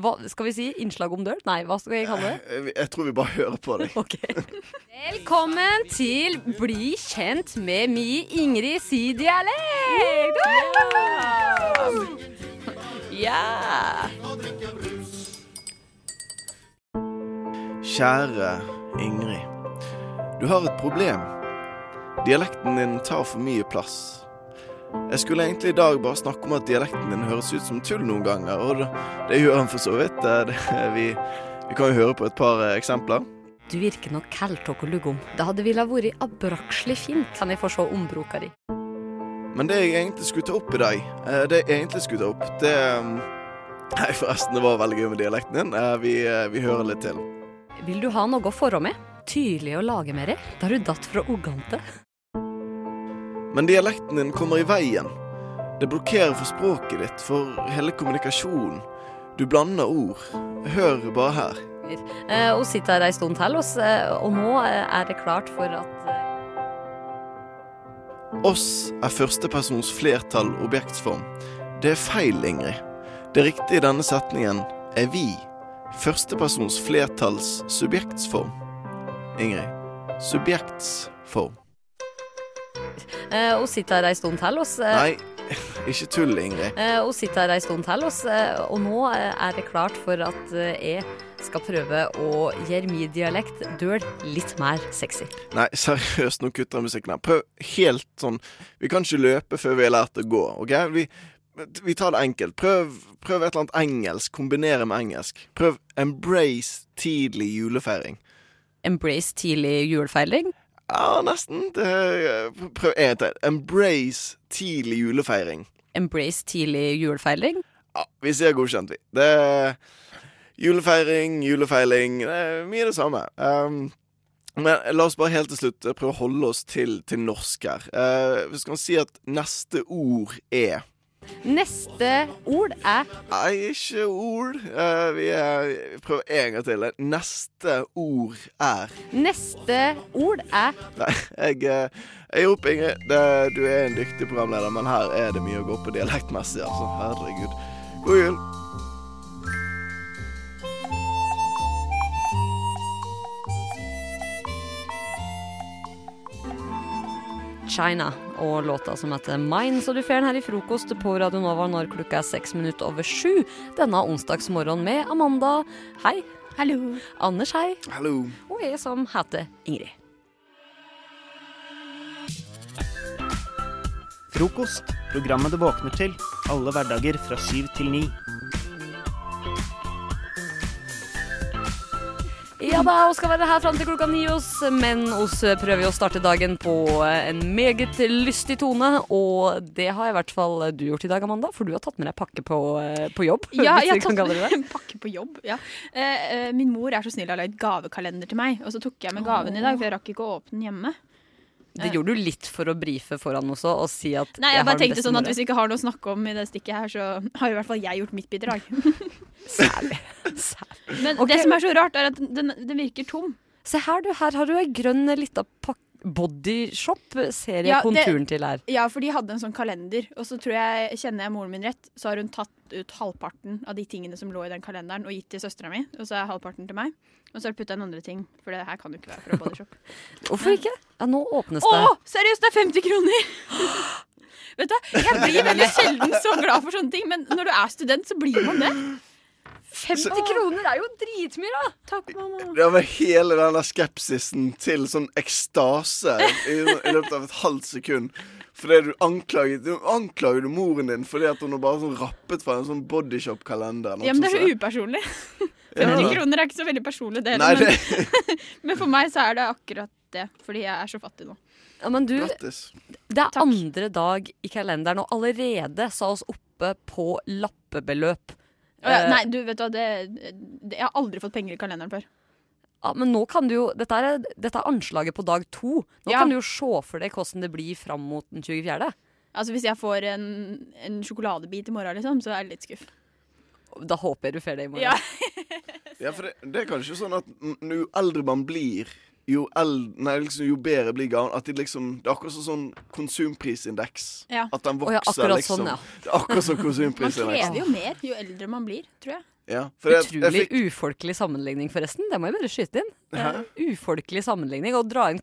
hva skal vi si? Innslag om døl? Nei, hva skal jeg kalle det?
Jeg, jeg tror Eh, vi bare hører på deg.
Velkommen til Bli kjent med mi Ingrid si dialekt! Ja!
Kjære Ingrid. Du har et problem. Dialekten din tar for mye plass. Jeg skulle egentlig i dag bare snakke om at dialekten din høres ut som tull noen ganger, og det, det gjør han for så vidt. Eh, Det, vi, vi kan jo høre på et par eh, eksempler.
Du virker nok kaldtåk og luggom. Det hadde ville vært abrakslig fint, kan jeg få se ombruka di.
Men det jeg egentlig skulle ta opp i dag, eh, det jeg egentlig skulle ta opp, det eh, Nei, forresten, det var veldig gøy med dialekten din. Eh, Vi, eh, vi hører litt til.
Vil du ha noe å forå med? Tydelig å lage mer i. Da har du datt fra Ugante.
Men dialekten din kommer i veien. Det blokkerer for språket ditt, for hele kommunikasjonen. Du blander ord. Hør bare her.
Eh, og sitter her ei stund til, oss, eh, og nå eh, er det klart for at
Oss er førstepersons flertall objektsform. Det er feil, Ingrid. Det riktige i denne setningen er vi. Førstepersons flertalls subjektsform. Ingrid. Subjektsform.
eh, Og sitter her ei stund til, oss, eh,
Nei, ikke tull, Ingrid.
eh, og sitter her ei stund til, oss, eh, og nå eh, er det klart for at eh, jeg skal prøve å gjøre min dialekt døl litt mer sexy.
Nei, seriøst, nå kutter jeg musikken her. Prøv helt sånn Vi kan ikke løpe før vi har lært å gå, OK? Vi, vi tar det enkelt. Prøv, prøv et eller annet engelsk. Kombinere med engelsk. Prøv 'embrace tidlig julefeiring'.
Embrace tidlig julefeiring.
Ja, nesten. Det, eh, prøv en til. 'Embrace tidlig julefeiring'.
Embrace tidlig julefeiring.
Ja, vi sier godkjent, vi. Det Julefeiring, julefeiling Det er mye det samme. Ehm, men la oss bare helt til slutt prøve å holde oss til, til norsk her. Eh, vi skal si at neste ord er
Neste ord er
Nei, ikke ord. Eh, vi er, prøver en gang til. Neste ord er
Neste ord er
Nei, jeg, eh, jeg gir opp, Ingrid. Det, du er en dyktig programleder, men her er det mye å gå på dialektmessig, altså. Herregud. God jul.
China og låta som heter Mine, så du får den her i frokost på Radio Nova når klokka er seks minutter over sju denne onsdagsmorgenen med Amanda. Hei. Hallo. Anders, hei.
Hallo.
Og jeg som heter Ingrid.
Frokost, programmet du våkner til. Alle hverdager fra syv til ni.
Ja da, vi skal være her fram til klokka ni, oss, men oss prøver jo å starte dagen på eh, en meget lystig tone. Og det har i hvert fall eh, du gjort i dag, Amanda, for du har tatt med deg pakke på, eh, på jobb.
Ja,
hvis
jeg har
vi kan
tatt
kalle det
med
det.
en pakke på jobb. Ja. Eh, eh, min mor er så snill og har lagd gavekalender til meg, og så tok jeg med gaven i dag, for jeg rakk ikke å åpne den hjemme.
Det gjorde du litt for å brife foran også og si at
Nei, jeg,
har
bare
den
tenkte
beste
sånn at
mora.
Hvis vi ikke har noe å snakke om i det stikket her, så har i hvert fall jeg gjort mitt bidrag. Men
Ok.
det som er så rart, er at den, den virker tom.
Se her, du. Her har du ei grønn lita pakke. Bodyshop ser jeg
Ja, det-
konturen til her.
Ja, for de hadde en sånn kalender, og så tror jeg, kjenner jeg moren min rett, så har hun tatt ut halvparten av de tingene som lå i den kalenderen, og gitt til søstera mi, og så er halvparten til meg. Og så har jeg putta inn andre ting, for det her kan jo ikke være fra Bodyshop.
Hvorfor ikke? Ja, nå åpnes
Å,
det.
seriøst, det er 50 kroner! Vet du, Jeg blir veldig sjelden så glad for sånne ting, men når du er student, så blir man det.
50 kroner er jo dritmye, da!
Takk, mamma.
Det var hele den der skepsisen til sånn ekstase i, i løpet av et halvt sekund. Fordi du anklaget, du anklaget moren din fordi at hun bare sånn rappet fra en sånn bodyshop-kalender. eller noe
Ja, men det er
sånt.
så upersonlig.
Ja.
50 kroner er ikke så veldig personlig, det
Nei,
heller.
det,
Men, men for meg så er det akkurat det, fordi jeg er så fattig nå.
Ja, men du,
Grattis.
det er andre dag i kalenderen, og allerede sa oss oppe på lappebeløp.
Å ja,
Eh,
nei, du vet du hva, det, det, jeg har aldri fått penger i kalenderen før.
ja, men nå kan du jo Dette er, dette er anslaget på dag to. Nå
Ja.
kan du jo se for deg hvordan det blir fram mot den 24.
Altså Hvis jeg får en, en sjokoladebit i morgen, liksom, så er jeg litt skuff.
Da håper jeg du får det i morgen.
Ja.
ja, for det, det er kanskje sånn at n- jo eldre man blir, jo, eld, nei, liksom, jo bedre blir gaven. At det liksom Det er akkurat sånn, sånn konsumprisindeks.
Ja.
At den
Å ja,
vokser,
akkurat
liksom.
sånn, ja.
Det er akkurat som liksom.
Man
konsumprisindeksen.
krever jo mer jo eldre man blir, tror jeg.
Ja, for jeg- jeg
Utrolig ufolkelig sammenligning, forresten. Det må jeg bare skyte inn.
Hæ?
Ufolkelig sammenligning. Å dra inn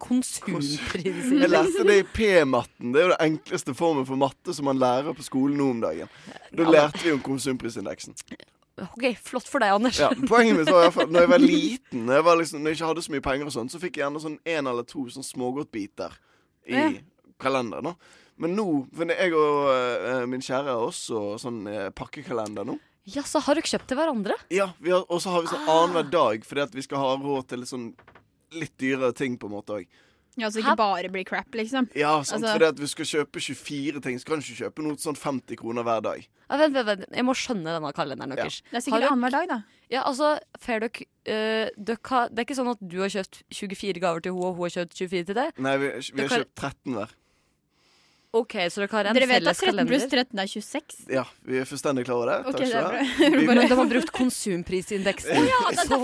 konsumprisindeksen.
Jeg leste det i P-matten. Det er jo den enkleste formen for matte som man lærer på skolen nå om dagen. Da lærte vi om konsumprisindeksen.
OK, flott for deg, Anders.
Ja, poenget mitt var i hvert fall Når jeg var liten, når jeg, var liksom, når jeg ikke hadde så mye penger, og sånn så fikk jeg gjerne sånn en eller to sånn smågodtbiter i
Ja.
kalenderen. da. Men nå for Jeg og eh, min kjære har også sånn eh, pakkekalender nå.
Ja, så har dere kjøpt til hverandre?
Ja, vi har- Og så har vi sånn annenhver dag, fordi at vi skal ha råd til litt sånn litt dyrere ting, på en måte òg.
Ja, så det ikke bare blir crap, liksom.
Ja, sant,
Altså-
fordi at hvis du skal kjøpe 24 ting, så kan du ikke kjøpe noe sånn 50 kroner hver dag.
Ja, vent, vent, vent. Jeg må skjønne denne kalenderen deres.
Det er
Har
sikkert
dere-
annenhver dag, da.
Ja, altså, fair dere, eh, dere har, Det er ikke sånn at du har kjøpt 24 gaver til henne, og hun har kjøpt 24 til deg?
Nei, vi, vi
Dere
har
har-
kjøpt 13 hver.
OK, så dere har en
Dere vet at
felles
13
kalender?
pluss 13 er 26?
Ja, vi er fullstendig klar over det.
Ok,
Takk
det er
skal du ha.
bra.
Vi-
Men de har brukt konsumprisindeksen.
Å
ja, det er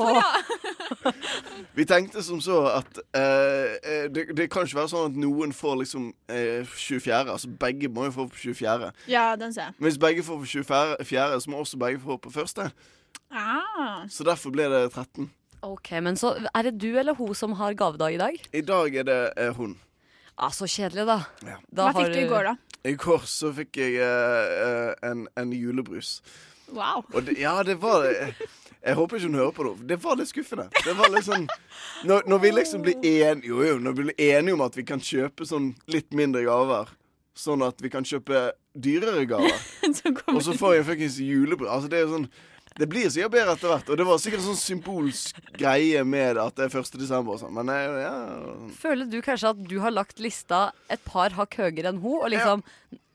derfor,
Vi tenkte som så at eh, eh, det, det kan ikke være sånn at noen får liksom eh, 24. Altså begge må jo få på 24.
Ja, den ser jeg.
Men hvis begge får på 24, så må også begge få på første.
Ah.
Så derfor ble det 13.
OK, men så er det du eller hun som har gavedag i dag?
I dag er det eh, hun.
Ah, så kjedelig, da.
Hva fikk du i går, da?
I går så fikk jeg eh, eh, en, en julebrus.
Wow.
Og det, ja, det var jeg, jeg håper ikke hun hører på det. Det var litt skuffende. Det var litt sånn Når, når vi liksom blir enige Jo, jo, når vi blir enige om at vi kan kjøpe sånn litt mindre gaver, sånn at vi kan kjøpe dyrere gaver, og så får jeg en fuckings julebrus Altså, det er jo sånn det blir sikkert bedre etter hvert, og det var sikkert en sånn symbolsk greie med at det er 1. desember og sånn, men jeg, ja,
Føler du kanskje at du har lagt lista et par hakk høyere enn hun, og liksom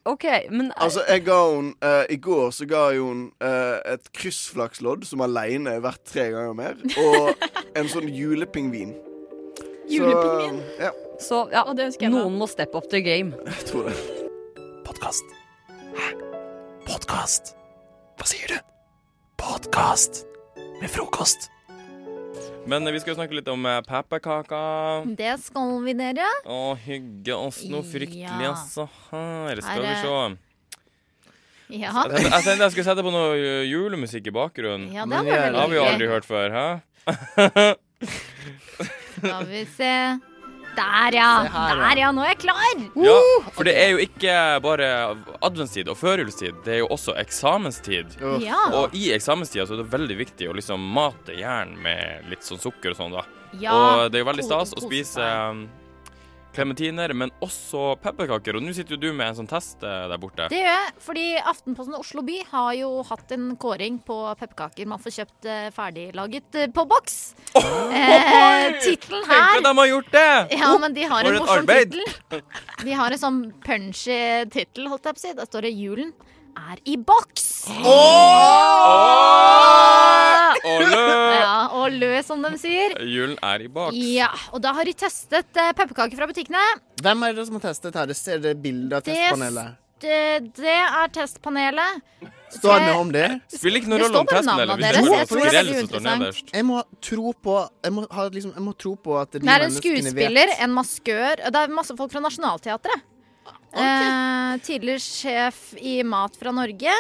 OK, men
Altså, jeg ga hun eh, I går så ga jeg hun eh, et kryssflakslodd som aleine er verdt tre ganger mer, og en sånn julepingvin. Så,
Julepingvin?
Ja.
Så ja, noen må steppe opp the game.
Jeg tror det.
Podkast. Podkast. Hva sier du? Podkast med frokost.
Men eh, vi skal jo snakke litt om eh, pepperkaker.
Det skal vi, dere.
Å, hygge oss noe fryktelig,
Ja.
altså. Her skal
Er
vi
det-
se.
Ja.
Jeg, tenkte- jeg tenkte jeg skulle sette på noe eh, julemusikk i bakgrunnen.
Ja, det hadde vært veldig
har vi jo aldri
hyggelig.
hørt før, hæ?
Skal vi se.
Se her,
Der, ja.
ja.
Der, ja. Nå er jeg klar.
Ja, for det er jo ikke bare adventstid og førjulstid, det er jo også eksamenstid.
Ja.
Og i eksamenstida så er det veldig viktig å liksom mate hjernen med litt sånn sukker og sånn, da.
Ja.
Og det er jo veldig stas å
Kos- kos
spise um, klementiner, men også pepperkaker. Og nå sitter jo du med en sånn test eh, der borte.
Det gjør jeg, fordi Aftenposten Oslo by har jo hatt en kåring på pepperkaker man får kjøpt eh, ferdiglaget eh, på boks. Eh, Tittelen
Tenk at
her
de har gjort det!
Ja, men de har
For
en
et
morsom
arbeid!
tittel. De har en sånn punchy tittel, holdt jeg på å si. Der står det 'Julen er i boks'.
Og lø-
Ja, og lø, som de sier.
Julen er i bak.
Ja, og da har de testet eh, pepperkaker fra butikkene.
Hvem er det som har testet her? Det ser det bildet av
Det
testpanelet.
Det, det er testpanelet.
Står det noe om det?
Spiller ikke noen rolle om testen eller hvis det
Hvorfor?
er bare skrell som står nederst.
Jeg må tro på Jeg må, ha, liksom, jeg må tro på at de
Det er en
menneskene
skuespiller,
vet
en maskør Det er masse folk fra Nationaltheatret. Eh, tidligere sjef i Mat fra Norge.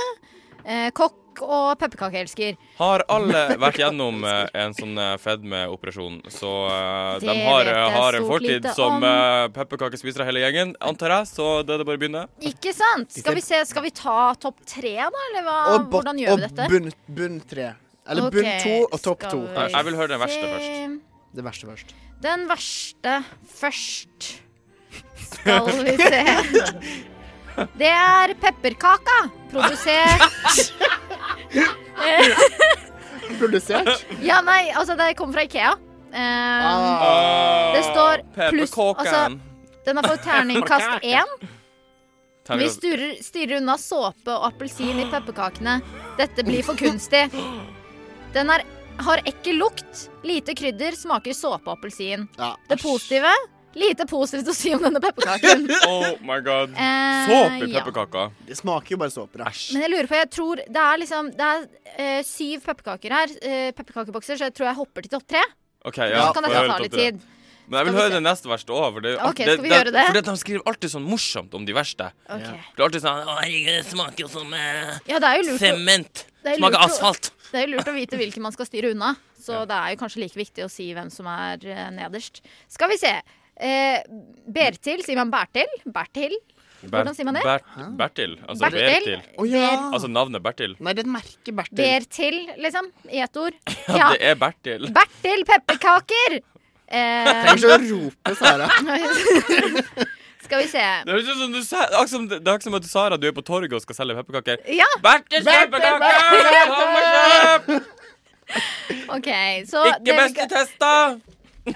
Eh, kokk og pepperkakeelsker.
Har alle vært gjennom eh, en sånn eh, fedmeoperasjon, så eh,
Det
de har,
vet jeg
har en
stort
fortid
lite om.
som eh, pepperkakespisere hele gjengen, antar jeg, så det er det bare å begynne.
Ikke sant? Skal vi, se, skal vi ta topp tre, da? Eller hva,
Og bot-
hvordan gjør vi
og
dette?
bunn, bunn tre. Eller
Ok,
bunn to og topp
skal
to.
vi
Jeg vil høre den verste
se.
først.
Det verste først.
Den verste først. Skal vi se. Det er pepperkaka. Produsert Eh,
Produsert?
Ja, nei, altså det kommer fra Ikea. Eh, det står pluss Altså,
Pepperkaken.
den har fått terningkast én. Vi
Terningkast-
styrer, styrer unna såpe og appelsin i pepperkakene. Dette blir for kunstig. Den er, har ekkel lukt, lite krydder, smaker såpe og appelsin. Det positive lite positivt å si om denne pepperkaken.
Oh my god.
Eh,
Såpe i
ja.
pepperkaker.
Det smaker jo bare såpe, da.
Men jeg lurer på, jeg tror det er liksom Det er eh, syv pepperkaker her. eh, pepperkakebokser, så jeg tror jeg hopper til topp tre.
OK, ja.
så
får
kan dette
høre
ta
topp
litt
tre.
tid.
Men jeg vil høre det neste verste òg. For det,
Ok, skal vi gjøre det?
For de skriver alltid sånn morsomt om de verste.
Ok.
Det er alltid sånn Å, herregud, det smaker jo som eh,
Ja, det er jo lurt å-
sement.
Det er jo
Smaker
lurt å-
asfalt.
Det er jo lurt å vite hvilke man skal styre unna. Så det er jo kanskje like viktig å si hvem som er eh, nederst. Skal vi se. Eh, Bertil, sier man Bertil? Bertil? Hvordan sier man det?
Bert, Bertil. Altså
Bertil?
Bertil.
Å, ja.
Altså navnet Bertil.
Nei, det er et merke,
Bertil, liksom. I ett ord.
Ja,
Ja.
det er Bertil.
Bertil pepperkaker! Eh,
Trenger ikke å
rope, Sara.
skal vi se.
Det høres ut som du sa- akkurat som- det er akkurat som at Sara du er på torget og skal selge pepperkaker.
Ja.
Bertil pepperkaker!
OK, så
Ikke
det-
best i test, da!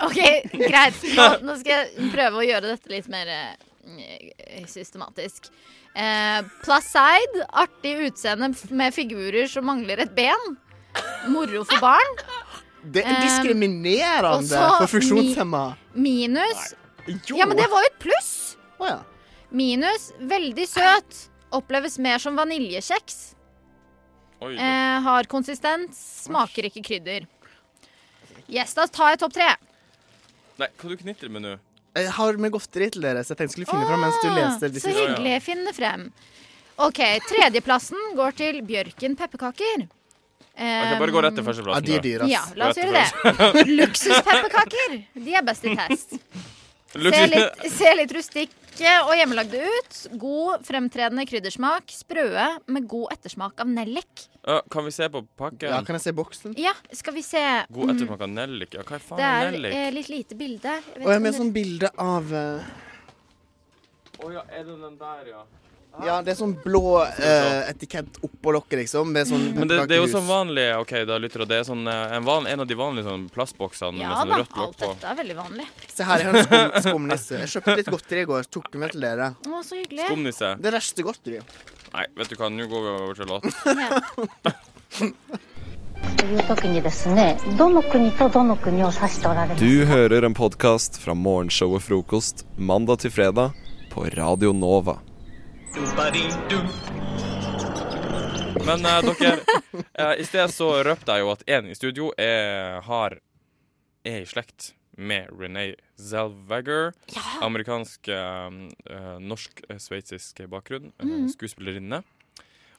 OK, greit. Nå, nå skal jeg prøve å gjøre dette litt mer eh, systematisk. Eh, Placeid, artig utseende med figurer som mangler et ben. Moro for barn.
Det er
Eh, og
diskriminerende
så
for funksjonshemma.
Minus Ja, men det var jo et pluss! Minus veldig søt. Oppleves mer som vaniljekjeks.
Oi.
Eh, har konsistens, smaker ikke krydder. Yes, da tar jeg topp tre.
Nei, hva du knitrer med nå?
Jeg har med godteri til dere, så jeg tenkte jeg skulle finne fram mens du leste.
Ah, Så hyggelig. Finn det frem. OK, tredjeplassen går til Bjørken pepperkaker.
Jeg kan bare gå rett til førsteplassen.
Ja, de er dyre, ass.
Ja, la oss
Rett til
gjøre det.
første-
Luksuspepperkaker. De er best i test. Ser
Luksus-
litt, ser litt rustikke og hjemmelagde ut. God fremtredende kryddersmak. Sprøe med god ettersmak av nellik.
Ja, kan vi se på pakken?
Ja, kan jeg se boksen?
Ja, skal vi se
God
Mm,
ettersmak av nellik. Ja, hva faen
Det
er
er
nellik?
eh, litt lite bilde. Jeg vet
Og jeg har
om
med
det-
sånn bilde av eh,
Å ja, er det den der, ja?
Ja, det er sånn blå eh, etikett oppå lokket, liksom. Med sånn
Men det, det er jo
pepperkakehus.
sånn vanlig OK, da lytter du. Det er sånn, eh, en, van, en av de vanlige sånn plastboksene med
Ja
sånn
da,
rødt lokk
alt
på.
dette er veldig vanlig.
Se her, jeg har en skum, skumnisse. Jeg kjøpte litt godteri i går. Tok det med til dere.
Å, så hyggelig.
Skumnisse.
Det rester godteri.
Nei, vet du hva, nå går vi over til låt.
という時にですねどの国とどの国を指しておられます
Du hører en podkast fra morgenshowet Frokost mandag til fredag på Radio Nova.
Men eh, dere, eh, i sted så røpte jeg jo at en i studio er, har, er i slekt med Renee Zellweger. Amerikansk, eh, eh, norsk-sveitsisk bakgrunn. eh,
Mhm.
Skuespillerinne.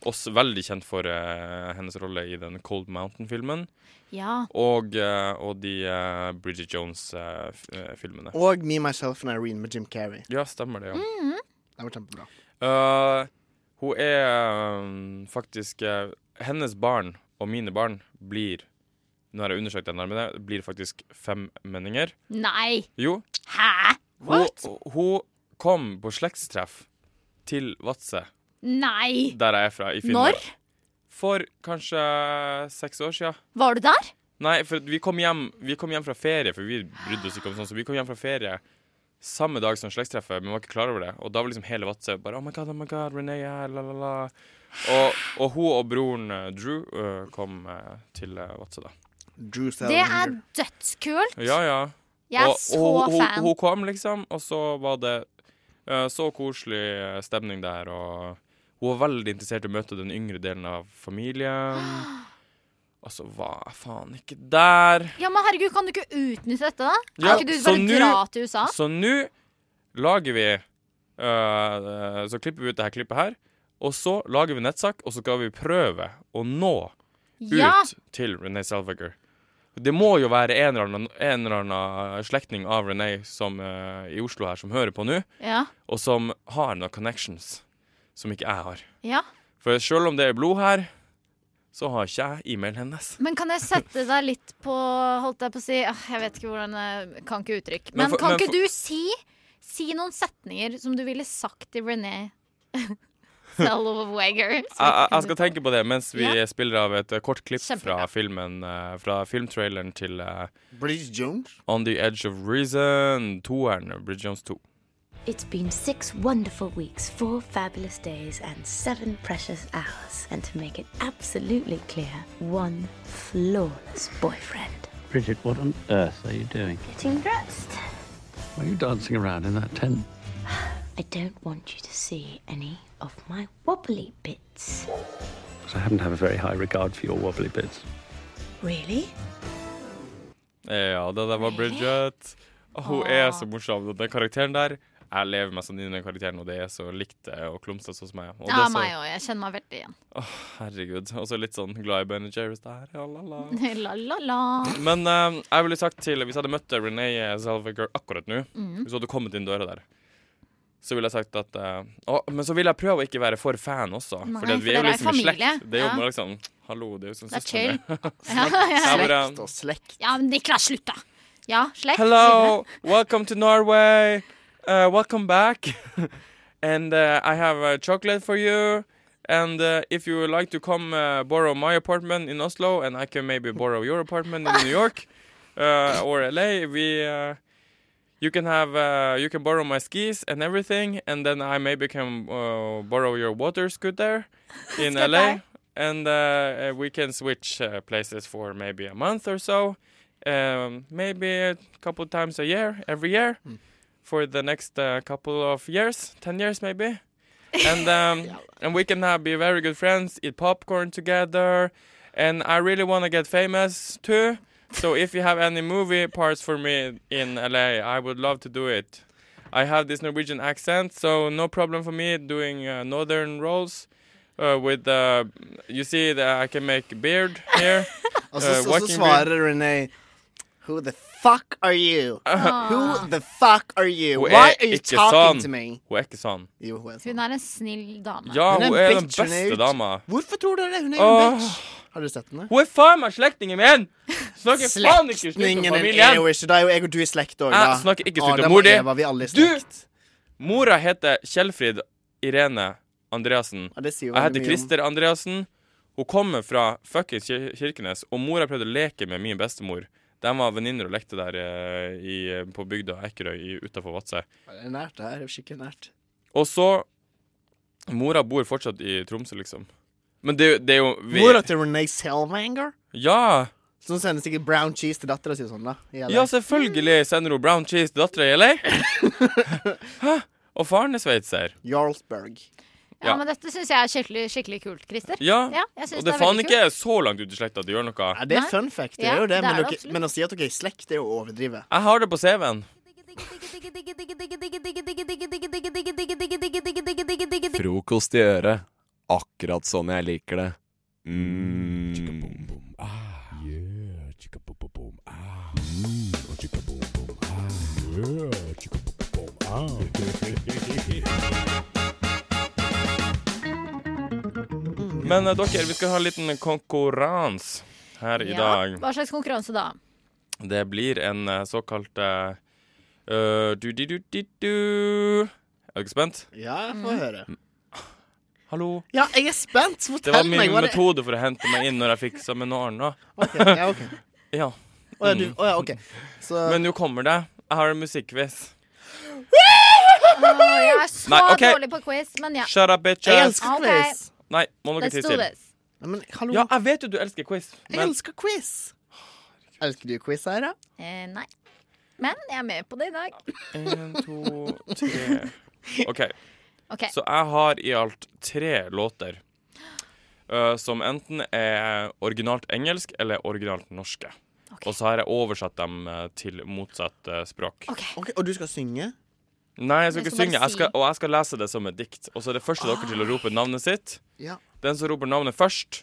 Også veldig kjent for eh, hennes rolle i den Cold Mountain-filmen.
Ja.
Og, eh, og de eh, Bridget eh, Jones-filmene.
Og Me, Myself and Irene med Jim Carrey.
Ja, stemmer det, ja.
Mm.
Det var kjempebra.
Eh, hun er um, faktisk eh, Hennes barn og mine barn blir Nå har jeg undersøkt den nærmere, blir faktisk femmenninger.
Nei!
Jo.
Hæ?
Hun, hun kom på slektstreff til Vadsø,
Nei!
der jeg er fra, i Finnmark.
Når?
For kanskje seks år siden.
Var du der?
Nei, for vi kom, hjem, vi kom hjem fra ferie, for vi brydde oss ikke om sånn, så vi kom hjem fra ferie samme dag som slektstreffet, men vi var ikke klar over det. Og da var liksom hele Vadsø bare Oh my god, oh my god, Renee er her, la, la, la. Og, og hun og broren eh, Drew eh, kom eh, til eh, Vadsø, da.
Drew
Det er dødskult.
Ja, ja.
Jeg er
og,
så
og, hun-
fan.
Hun, hun kom, liksom, og så var det eh, så koselig eh, stemning der, og hun var veldig interessert i å møte den yngre delen av familien. Og så var jeg faen ikke der.
Ja, men herregud, kan du ikke utnytte dette, da?
Ja,
Kan ikke du
så
bare
nå-
dra til USA?
Så nå lager vi øh, Så klipper vi ut det her klippet her. Og så lager vi nettsak, og så skal vi prøve å nå
Ja.
ut til Renee Selvager. Det må jo være en eller annen, en eller annen slektning av Renee som, øh, i Oslo her som hører på nå,
Ja.
og som har noen connections som ikke jeg har.
Ja.
For selv om det er blod her, så har ikke jeg e-mailen hennes.
Men kan jeg sette deg litt på Holdt jeg på å si ah, Jeg vet ikke hvordan jeg kan ikke uttrykk.
Men
Men,
for-
kan
men
ikke
for-
du si Si noen setninger som du ville sagt til René Selwager?
jeg, jeg- jeg skal tenke på det mens vi
Ja.
spiller av et eh, kort klipp fra filmen eh, Fra filmtraileren til eh,
Bridget Jones?
On the Edge of Reason, toeren. Bridget Jones 2.
It's been six wonderful weeks, four fabulous days, and seven precious hours. And to make it absolutely clear, one flawless boyfriend.
Bridget, what on earth are you doing?
Getting dressed.
Why Are you dancing around in that tent?
I don't want you to see any of my wobbly bits.
'Cause I happen to have a very high regard for your wobbly bits.
Really?
Ja, det der var Bridget. Og Hun er så morsom. og Den karakteren der Jeg lever meg sånn inn i den karakteren, og det er så likt eh, og klumsete hos meg. Og det
Ja,
er så,
meg òg. Jeg kjenner meg veldig igjen.
Åh, herregud. Og så litt sånn glad i Ben Jerry's der. Ja, la, la.
La, la, la.
Men eh, jeg ville sagt til Hvis jeg hadde møtt Renee Zellweger akkurat nå,
Mhm.
hvis hun hadde kommet inn døra der, så ville jeg sagt at eh, å, Men så ville jeg prøve å ikke være for fan også.
Nei,
fordi at
for
vi
dere
er
er
jo liksom i
familie.
slekt. Det er jo
Ja.
bare liksom Hallo, det er jo sånn
Det er
søsteren
chill.
min.
Ja, ja.
Jeg bare,
Slekt Ja, men Niklas, slutt, da! Ja, slekt. videre.
Hello, welcome to Norway. Uh, welcome back. and uh, I have a chocolate for you. And uh, if you would like to come uh, borrow my apartment in Oslo, and I can maybe borrow your apartment in New York, uh, or LA, we uh, you can have uh, you can borrow my skis and everything, and then I maybe can uh, borrow your water scooter in LA, and uh, uh, we can switch uh, places for maybe a month or so, um, maybe a couple times a year, every year, for the next uh, couple of years, ten years maybe, and um, and we can have, be very good friends, eat popcorn together, and I really want to get famous too. So if you have any movie parts for me in LA, I would love to do it. I have this Norwegian accent, so no problem for me doing uh, northern roles. Uh, with uh, you see that I can make beard here. uh,
Og Altså, så, og så
walking beard.
svarer René Who the fuck are you? Who the fuck are you?
Hun
Why
er
are you
ikke
talking
sånn.
to me?
Hun er ikke sånn.
Jo, hun er
Hun er en snill dame.
Ja,
Hun er
hun
en
er den
bitch, hun er
beste
ut.
dama.
Hvorfor tror dere hun er en
Åh.
bitch? Har dere sett henne?
Hun er faen meg slektningen min! Snakker faen ikke slik om
Slektningen din er jo
familien.
ikke Da er jo jeg og du i slekt òg, da.
Jeg snakker ikke
Adam
stygt om
og
mor di.
Eva, vi er alle i slekt.
Du! Mora heter Kjellfrid Irene Andreassen.
Ja, det sier jo
Jeg heter
veldig mye om-
Christer Andreassen. Hun kommer fra fuckings Kir- Kirkenes, og mora prøvde å leke med min bestemor. De var venninner og lekte der eh, i, på bygda Ekerøy utafor Vadsø.
Det er nært, det her. Det er Skikkelig nært.
Og så Mora bor fortsatt i Tromsø, liksom. Men det, det er jo vi-
Mora til René Selvanger?
Ja!
Som sender sikkert brown cheese til dattera si og sånn, da. i LA.
Ja, selvfølgelig sender hun brown cheese til dattera i LA. Hæ? Og faren er sveitser.
Jarlsberg.
Ja, men dette syns jeg er skikkelig, skikkelig kult, Christer.
Ja,
jeg synes
og det
er
er faen
veldig
ikke så langt ut i slekta at det gjør noe.
Ja, det er fun fact, det er
Ja,
jo det.
det
Men,
er det
dere,
absolutt.
men å si at dere er i slekt, det er jo å overdrive.
Jeg har det på CV-en.
Frokost i øret. Akkurat sånn jeg liker det. Mm.
Men eh, dere, vi skal ha en liten konkurranse her i dag.
Hva slags konkurranse da?
Det blir en eh, såkalt eh, øh, du-di-du-di-du. Er dere spent?
Ja,
Mm.
få høre.
Hallo?
Ja, jeg er spent!
Det
Fortell
var min
meg hva det
metode for å hente meg inn når jeg fikk seminaren, da.
Ok, ja, ok.
Ja. Mm.
Å ja, du- å ja, ok. Så-
Men nå kommer det. Jeg har en musikkquiz.
Åh, jeg er så
Nei, ok.
dårlig på quiz, men ja.
Shut up, bitches.
Jeg elsker Ok. quiz.
Nei, må dere
Let's
tie
do
til.
this.
Ja, jeg vet jo du elsker quiz.
Jeg elsker quiz. Elsker du quiz, Eira?
Eh, nei. Men jeg er med på det i dag.
En, to, tre. OK.
Ok.
Så jeg har i alt tre låter eh, som enten er originalt engelsk eller originalt norske. Og så har jeg oversatt dem eh, til motsatt eh, språk.
Ok, og du skal synge?
Nei, jeg skal ikke
Jeg skal bare
synge, jeg
si. Ah.
skal, og jeg skal lese det som et dikt. Og så er det første dere til å rope navnet sitt.
Ja.
Den som roper navnet først,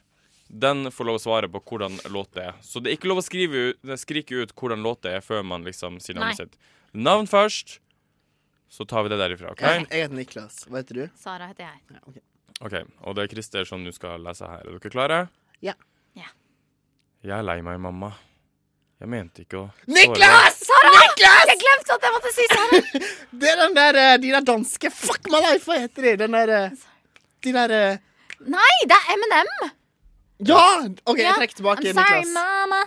den får lov å svare på hvordan låt det er. Så det er ikke lov å skrive ut, skrike ut hvordan låt det er, før man liksom sier navnet
Nei.
sitt. Navn først, så tar vi det derifra, OK?
Jeg, jeg heter Niklas. Hva heter du?
Sara heter jeg.
Ok, Og det er Christer som du skal lese her. Er dere klare?
Ja.
Ja.
Jeg er lei meg, mamma. Jeg mente ikke å
Niklas!
Sara!
Niklas!
Jeg glemte at jeg måtte si Sara!
Det er den der, eh, de der danske Fuck my life, hva heter de? Den der eh, De der eh,
Nei, det er M&M.
Ja! OK, jeg
Ja.
trekker tilbake
I'm sorry,
Niklas.
mama.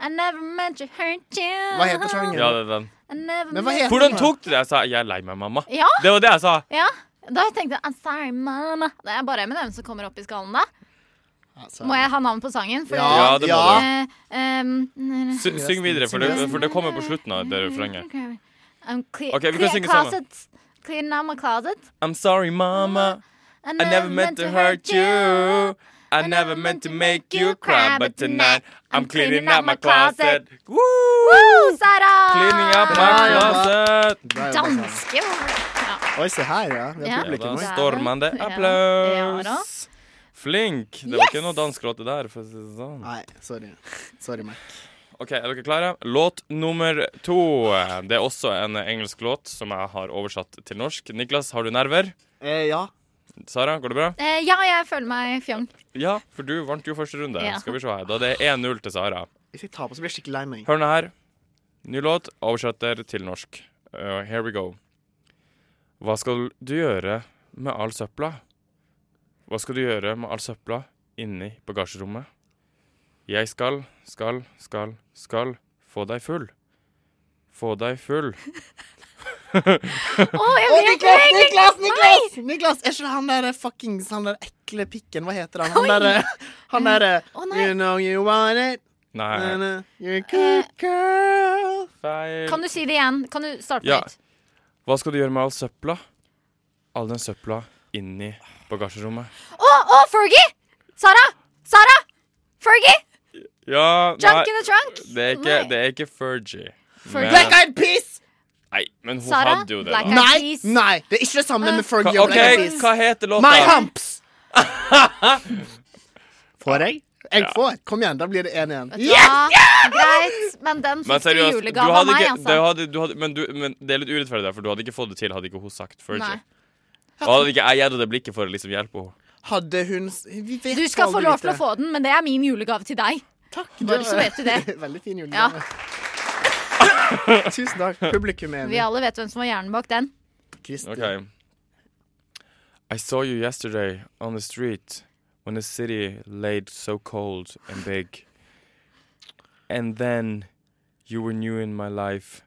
I never meant to hurt you.
Hva heter sangen?
Ja, det er den.
I never
Men hva
meant-
heter
Hvordan tok du det? Jeg sa 'jeg er lei meg, mamma'.
Ja.
Det var det jeg sa.
Ja, da tenkte jeg I'm sorry, mama. Det er bare M&M som kommer opp i skallen da. Må jeg ha navn på sangen? Fordi-
Ja, Ja, det må ja. du.
Eh, um,
Sy syng videre, for det, for det kommer på slutten av
Mm,
det refrenget.
Okay. I'm Um, clear,
Ok, vi kan
clear
synge sammen.
closet. Clean out my closet.
I'm sorry, mama. I never meant to hurt you. I never meant to make you cry, but tonight I'm cleaning out my closet. Woo!
Sara!
Cleaning up my
Bra jobba.
closet.
Bra jobba, Sara.
Danske ord.
Oi, se her, ja. Vi
Ja.
har publikum.
Da
også.
stormende
Ja. Ja da.
applaus. Flink. Det var
Yes!
ikke noe danskråte der, for å si det sånn.
Nei, sorry. Sorry, Mac.
OK, er dere klare? Låt nummer to. Det er også en engelsk låt som jeg har oversatt til norsk. Niklas, har du nerver?
Eh, ja.
Sara, går det bra?
Eh, ja, jeg føler meg fjong.
Ja, for du vant jo første runde.
Ja.
Skal vi se her. Da det er 1-0 til Sara.
Hvis jeg taper, så blir jeg skikkelig lei meg.
Hør nå her. Ny låt, oversetter til norsk. Uh, here we go. Hva skal du gjøre med all søpla? Hva skal du gjøre med all søpla inni bagasjerommet? Jeg skal, skal, skal, skal Få deg full. Få deg full.
jeg
Å,
vet
Niklas,
egentlig-
Niklas, Niklas! Niklas, Er ikke det han der fuckings han der ekle pikken? Hva heter han?
Oi.
Han derre Han derre
Å, nei.
You know you want it.
Nei.
Na, na, You're a good girl.
Feil.
Eh, Kan du si det igjen? Kan du starte på
Ja.
nytt?
Hva skal du gjøre med all søpla? All den søpla inni bagasjerommet.
Å, å, Fergie! Sara! Sara! Fergie!
Ja,
Junk in the trunk?
Det er ikke, det er ikke Fergie.
Fergie. Black Eyed Peas!
Nei, men hun
Sara,
hadde jo det,
Black
da.
Eyed Nei, nei, det er ikke det
Uh,
samme med Fergie
Hva-
og Black Eyed
ok,
Peas.
hva heter låta?
My Humps! får jeg? Jeg
Ja.
får. Kom igjen, da blir det én igjen.
Vet du
Yes!
hva? Greit, men den
Men
fikk du i
seriøst, du
julegave av
hadde
meg,
ikke, du
altså.
hadde, du hadde, men, du, men det er litt urettferdig, der, for du hadde ikke fått det til hadde ikke hun sagt Fergie.
Nei.
Og hadde ikke jeg gitt henne det blikket for å liksom hjelpe henne.
Hadde hun s- Vi vet
Du skal få
aldri
lov til å
dette.
få den, men det er min julegave til deg.
Takk.
Bare så vet du det.
Veldig fin
Ja,
julegave. Tusen takk. Publikum er
vi
enig.
alle vet hvem som var hjernen bak den.
Okay. I saw you yesterday on the street when the city laid so cold and big. And then you were new in my life,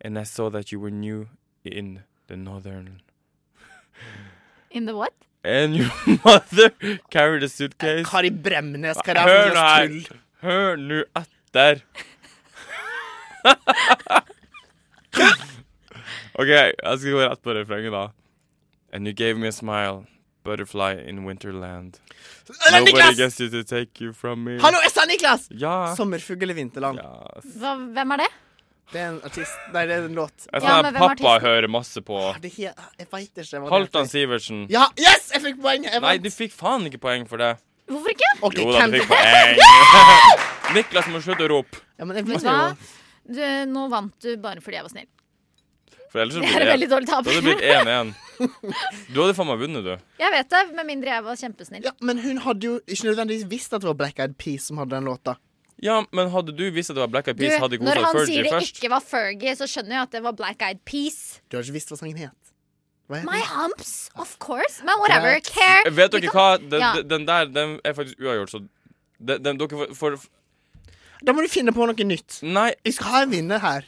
and I saw that you were new in the northern.
In the what?
And your mother carried a suitcase.
Kari Bremnes, hva er det
Hør
for
nå
slags
her!
tull?
Hør nå etter. OK, jeg skal gå rett på refrenget, da. And you gave me a smile, butterfly in winterland.
Eller
Nobody
Niklas!
gets you to take you from me.
Hallo, jeg sa Niklas!
Ja.
Sommerfugl eller vinterland?
Hva, hvem er det?
Det er en artist Nei, det er en låt.
Jeg
Ja,
sa
men hvem
pappa
er artisten?
hører masse på.
Det er helt- Jeg veit ikke. hva det er.
Halvdan Sivertsen.
Ja, yes! Jeg fikk poeng. Jeg
Nei,
vant.
du fikk faen ikke poeng for det.
Hvorfor ikke?
Ok,
jo da,
hvem-
du fikk poeng. Niklas må slutte å rope.
Ja, men jeg
Vet
blir
du hva?
jo
Du, nå vant du bare fordi jeg var snill.
For ellers så
Det
blir
er
det
veldig dårlig tap.
Da hadde det blitt 1-1. Du hadde faen meg vunnet, du.
Jeg vet det, med mindre jeg var kjempesnill.
Ja, men hun hadde jo ikke nødvendigvis visst at det var Black Eyed Peas som hadde den låta.
Ja, men hadde du visst at det var Black Eyed Peas, hadde ikke hun
når
sagt
han
Fergie
sier det
først.
ikke var Fergie, så skjønner jeg at det var Black Eyed Peas.
Du har ikke visst hva sangen het. Hva het
My
den?
humps, of course. Men whatever.
Greit.
Care.
Vet dere hva? Den,
Ja.
den- den der den er faktisk uavgjort, så den, den, dere får- får
Da må du finne på noe nytt.
Nei.
Jeg skal ha en vinner her.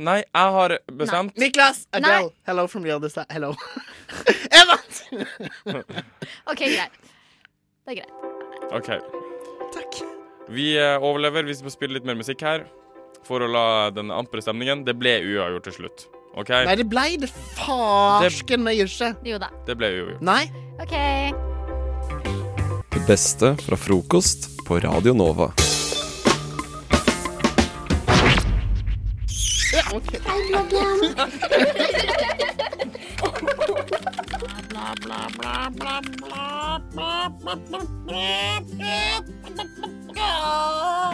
Nei, jeg har bestemt.
Niklas! Adele! Hello from the other side. Hello. jeg vant!
OK, greit. Det er greit.
OK. Vi eh, overlever. Vi skal spille litt mer musikk her for å la den ampre stemningen Det ble uavgjort til slutt. OK?
Nei, det blei det farsken meg ikke.
Jo da.
Det ble uavgjort.
Nei.
OK.
Det beste fra frokost på Radio Nova.
Ja, ok.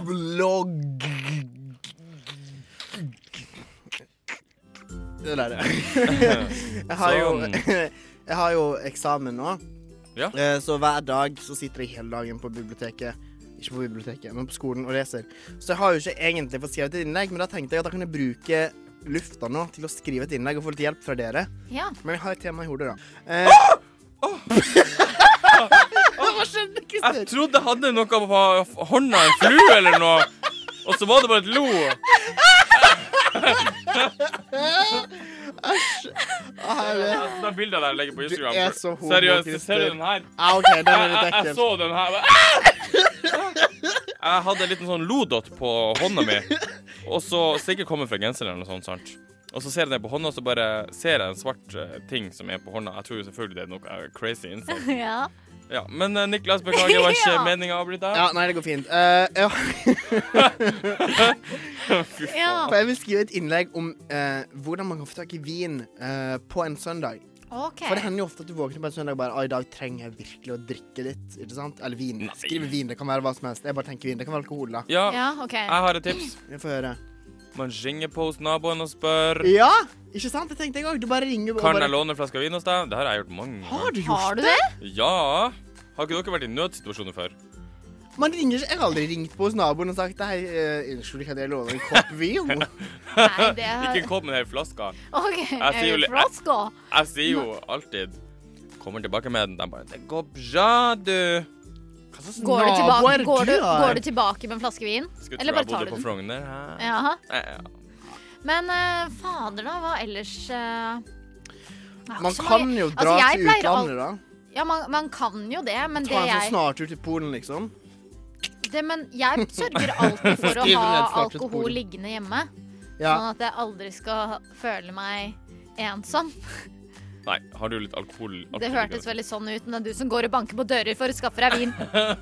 Vlogg. Det der, ja. Jeg har jo
Sånn.
Jeg har jo eksamen nå.
Ja.
Eh, Så hver dag så sitter jeg hele dagen på biblioteket. Ikke på biblioteket, men på skolen og leser. Så jeg har jo ikke egentlig fått skrevet et innlegg, men da tenkte jeg at da kan jeg bruke lufta nå til å skrive et innlegg og få litt hjelp fra dere.
Ja.
Men jeg har et tema i hodet, da. Eh, Hva skjedde, Kristin?
Jeg trodde jeg hadde noe på hånda, en flue eller noe, og så var det bare et lo.
Æsj. Å, herre.
Altså, Det bildet der jeg legger på Instagram.
er så homo,
Seriøst,
Christer.
ser du den her?
Ja, OK, den er
Jeg,
litt
jeg, jeg
ekkel.
så den her. bare, «Ah!» Jeg hadde en liten sånn lodott på hånda mi, og så sikkert kommer fra genseren eller noe sånt, sant? Og så ser jeg ned på hånda, og så bare ser jeg en svart eh, ting som er på hånda. Jeg tror jo selvfølgelig det er noe eh, crazy inside.
Ja.
Ja, men eh, Niklas, beklager, det var ikke
Ja.
meningen å avbryte.
Ja, nei, det går fint. Eh, ja. For jeg vil skrive et innlegg om eh, hvordan man kan få tak i vin eh, på en søndag.
OK.
For det hender jo ofte at du våkner på en søndag og bare «Å, i dag trenger jeg virkelig å drikke litt. Ikke sant? Eller vin. Skriv vin. Det kan være hva som helst. Jeg bare tenker vin. Det kan være alkohol, da.
Ja,
Ja, ok.
jeg har et tips.
Jeg får høre.
Man ringer på hos naboen og spør
Ja, ikke sant? Det tenkte jeg òg. Du bare ringer og
Kan
bare
jeg låne en flaske vin hos deg. Det her har jeg gjort mange ganger.
Har du gjort det?
Ja. Har ikke dere vært i nødsituasjoner før?
Man ringer ikke Jeg har aldri ringt på hos naboen og sagt Hei, eh, unnskyld, kan jeg låne en kopp vin?
det har-
Ikke kom med den her flaska.
OK.
Jeg sier jo litt-
Frosko.
Jeg sier jo alltid Kommer tilbake med den. De bare 'Det går bra, du'.
slags
Går
nabo
du,
er
tilbake,
det
går, du,
du er?
går du tilbake med en flaske vin?
Skulle
Eller
tro
bare
jeg
tar
bodde
du
på
den?
Frogner. hæ?
Jaha.
Eh, ja.
Men eh, fader, da. Hva ellers eh, jeg har
Man
ikke så
kan
mange-
jo
Altså,
dra
jeg
til
pleier
utlandet,
al-
da.
Ja, man, man kan jo det, men
Ta
det
en sånn
jeg
snartur til Polen, liksom.
det, Men jeg sørger alltid for å
Skriv
ha
ned startet på
alkohol
bordet.
liggende hjemme.
Ja.
Sånn at jeg aldri skal føle meg ensom.
Nei, har du litt alkohol? alkohol
Det hørtes veldig sånn ut, men det er du som går og banker på dører for å skaffe deg vin.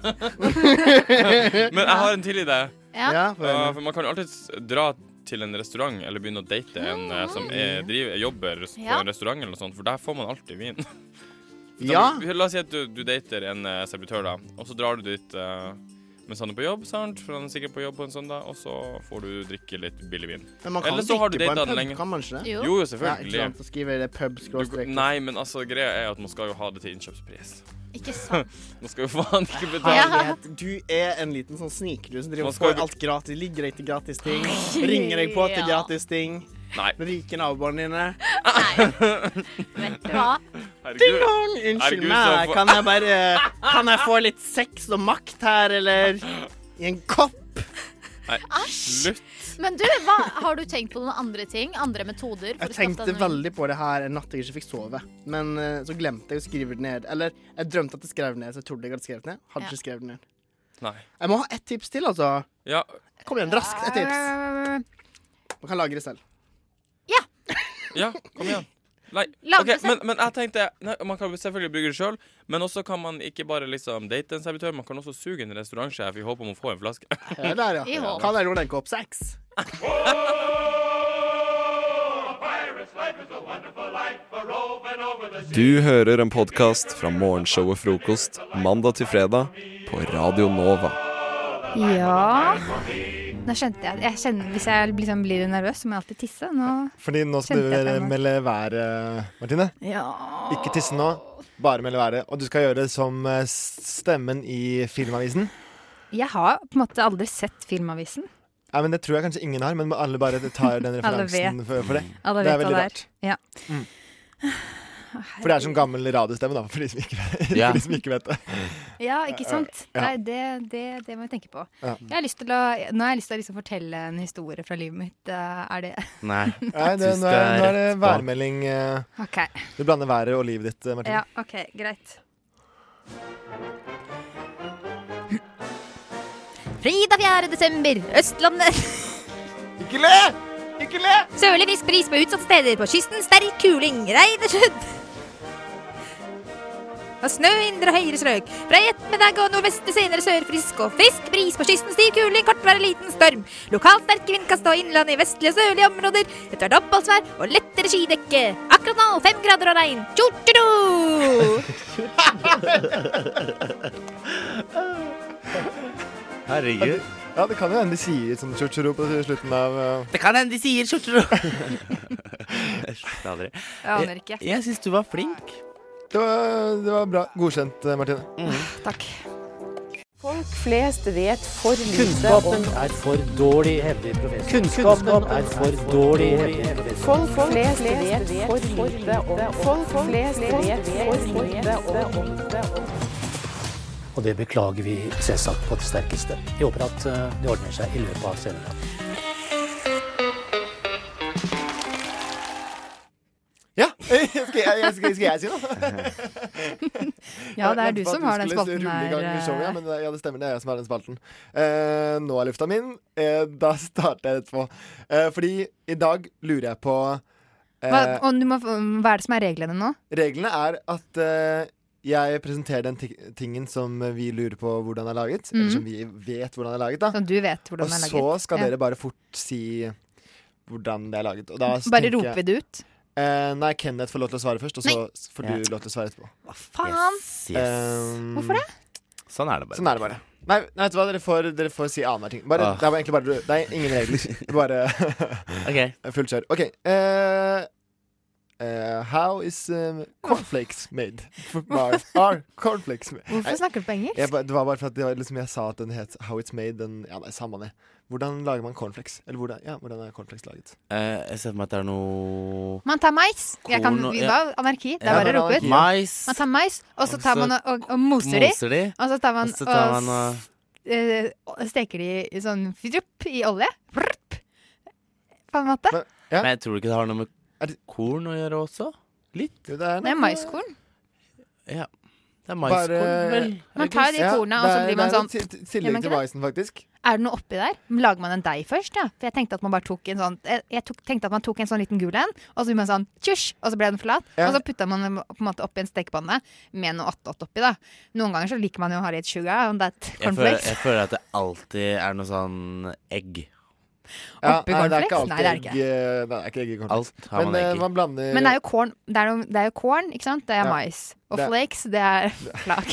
Men jeg har en til idé.
Ja. Ja,
for, for man kan jo alltid dra til en restaurant eller begynne å date en eh, som
Ah.
er, driver, jobber på
Ja.
en restaurant eller noe sånt, for der får man alltid vin. Da-
Ja.
La oss si at du, du dater en eh, servitør, da, og så drar du dit eh, mens han er på jobb, sant? for han er sikkert på jobb på en søndag, og så får du drikke litt billig vin.
Men man kan
Eller
jo
så har du
drikke på en
datet han
pub,
lenge.
kan man ikke det?
Jo,
Jo.
jo
Ja,
selvfølgelig.
ikke sant, så skriver jeg det pub skråstrek.
Nei, men altså, greia er at man skal jo ha det til innkjøpspris.
Ikke sant.
man skal jo faen ikke betale.
Herlighet, du er en liten sånn sniker du som
Man
driver og
skal
får
jo-
alt gratis. Ligger deg til gratis ting. Ringer deg på til
Ja.
gratis ting.
Nei.
Rike naboene dine.
Vet du hva?
Ding dong! Unnskyld Herregud, så meg, for- kan jeg bare Kan jeg få litt sex og makt her, eller? I en kopp?
Nei, slutt.
Men du, hva, har du tenkt på noen andre ting? Andre metoder? for å
Jeg
skaffe deg
tenkte
en vin?
veldig på det her en natt jeg ikke fikk sove. Men eh, så glemte jeg å skrive det ned. Eller jeg drømte at jeg skrev det ned, så jeg trodde jeg hadde skrevet det ned. Hadde
Ja.
ikke skrevet det ned.
Nei.
Jeg må ha ett tips til, altså.
Ja.
Kom igjen, raskt. Ett tips. Man kan lagre selv.
Ja, kom igjen. Nei.
Lage
ok,
det selv.
men, men jeg tenkte nei, Man kan selvfølgelig brygge det sjøl, men også kan man ikke bare liksom date en servitør, man kan også suge en restaurantsjef i håp om å få en flaske.
Ja, der,
I
ja.
håp.
Kan jeg roe deg en kopp sex?
Du hører en podkast fra morgenshowet Frokost mandag til fredag på Radio Nova.
Ja Nå skjønte jeg, jeg kjenner, Hvis jeg liksom blir nervøs, så må jeg alltid tisse. Nå
Fordi nå skal
Kjente jeg
du
på meg.
melde været, Martine.
Ja.
Ikke tisse nå, bare melde været. Og du skal gjøre det som eh, stemmen i Filmavisen.
Jeg har på en måte aldri sett Filmavisen.
Nei, men Det tror jeg kanskje ingen har, men alle bare tar den
Alle vet,
referansen for, for det.
alle
det
vet
er veldig
hva
rart.
det er. Ja.
Mm. For det er som gammel radiostemme, da, for de som ikke,
Ja.
for de som ikke vet det.
ja, ikke sant?
Ja.
Nei, det, det, det må jeg tenke på.
Ja.
Jeg har lyst til å, nå har jeg lyst til å liksom fortelle en historie fra livet mitt. Eh, Er det
Nei, det,
Du
nå, er,
skal
nå er det
rett på.
værmelding. eh,
OK.
Du blander været og livet ditt, eh, Martine.
Ja, OK, greit.
Frida 4. desember, Østlandet. Ikke le! Ikke le! Sørlig frisk bris på utsatte steder. På kysten sterk kuling. Regn og sludd. Og snø i indre og høyere strøk. Fra i ettermiddag og nordvest til senere sør frisk og frisk bris. På kysten stiv kuling, kortvarig liten storm. Lokalt sterke vindkast og innland i vestlige og sørlige områder. Etter hvert oppholdsvær og lettere skydekke. Akkurat nå fem grader og regn. Tjo-tjo-tjo!
Herregud. Ja, det kan jo hende de sier sånn chuchuro på slutten av eh,
Det kan hende de sier skjorter og
Jeg slutter aldri.
Jeg aner ikke.
Jeg syns du var flink. Det var, det var bra. Godkjent, eh, Martine.
Ah,
Takk.
Folk flest vet for lite
Kunnskapen
om
er for dårlig, hevder professor.
Kunnskapen
er for dårlig, hevder
Folk flest vet for lite om Folk flest vet for lite om
Og det beklager vi selvsagt på det sterkeste. Vi håper at eh, det ordner seg i løpet av sendinga.
Ja! Skal jeg, jeg- skal, skal jeg si noe?
Ja, det er
Jeg
du
venter på
som
at
har den
skulle
spalten
rulle i gang med
her,
showet,
eh.
ja, men det- ja, det stemmer. Det er jeg som har den spalten. Eh, nå er lufta min. Eh, da starter jeg etterpå. Eh, fordi i dag lurer jeg på eh,
Hva, og du må, hva er det som er reglene nå?
Reglene er at eh, jeg presenterer den ti- tingen som vi lurer på hvordan er laget.
Mhm.
Eller som vi vet hvordan er laget, da.
Som Sånn du vet hvordan
og
det er laget.
så skal
Ja.
dere bare fort si hvordan det er laget. Og da s-
Bare
tenker
roper vi
jeg-
det ut?
Eh, nei, Kenneth får lov til å svare først, og så s- får du
Ja.
lov til å svare etterpå.
Faen!
Ehm,
Hvorfor det?
Sånn er det bare.
Sånn er det bare. Nei, nei, vet du hva, dere får, dere får si annenhver ting. Bare,
Ah.
Det er bare egentlig bare Det er ingen regler. Bare
Ok.
fullt kjør. OK. eh, eh, How is um, cornflakes made? Are, are cornflakes made?
Hvorfor snakker du på engelsk?
Jeg, ba- det var bare for at det var, liksom, jeg sa at den het How it's made. Den, ja, nei, samme det. Hvordan lager man cornflakes? Eller hvordan, ja, hvordan er cornflakes laget?
Eh, jeg ser for meg at det er noe
Man tar mais. Jeg kan,
Korn og-
vi
ja.
var anarki. Det
Ja,
er bare å rope ut.
anarki. Mais.
Man tar mais, og så tar
Og så
man og, og, og moser de.
moser de.
Og så tar man
Og så tar man
og s- eh, og steker de i sånn fidrup i olje. Vrrup. På en måte.
Men jeg tror ikke det har noe med korn å gjøre også. Litt.
Det er maiskorn.
Ja. Det er maiskorn,
Bare-
vel.
Man tar de korna, og så blir man sånn
Det er i ti-
Gjør man
tillegg til
ikke det?
maisen, faktisk.
Er det noe oppi der? Lager man en deig først? Ja? For jeg tenkte at man bare tok en sånn Jeg, jeg tok, tenkte at man tok en sånn liten gul en, og så gjorde man sånn tjusj, og så ble den flat.
Ja.
Og så putta man den på en måte oppi en stekepanne med noe attåt oppi, da. Noen ganger så liker man jo å ha litt sugar on that
Jeg føler,
cornflakes.
jeg føler at det alltid er noe sånn egg.
Ja,
Oppi
nei, det er ikke
cornflakes?
alltid
Nei, det er
egg,
det
eh, nei, det er ikke egg i cornflakes.
Alt har man
Men eh,
egg i.
man blander
Men det er jo korn, det er, jo- det er jo korn ikke sant? Det er
Ja.
mais. Og
Det er-
flakes, det er flak.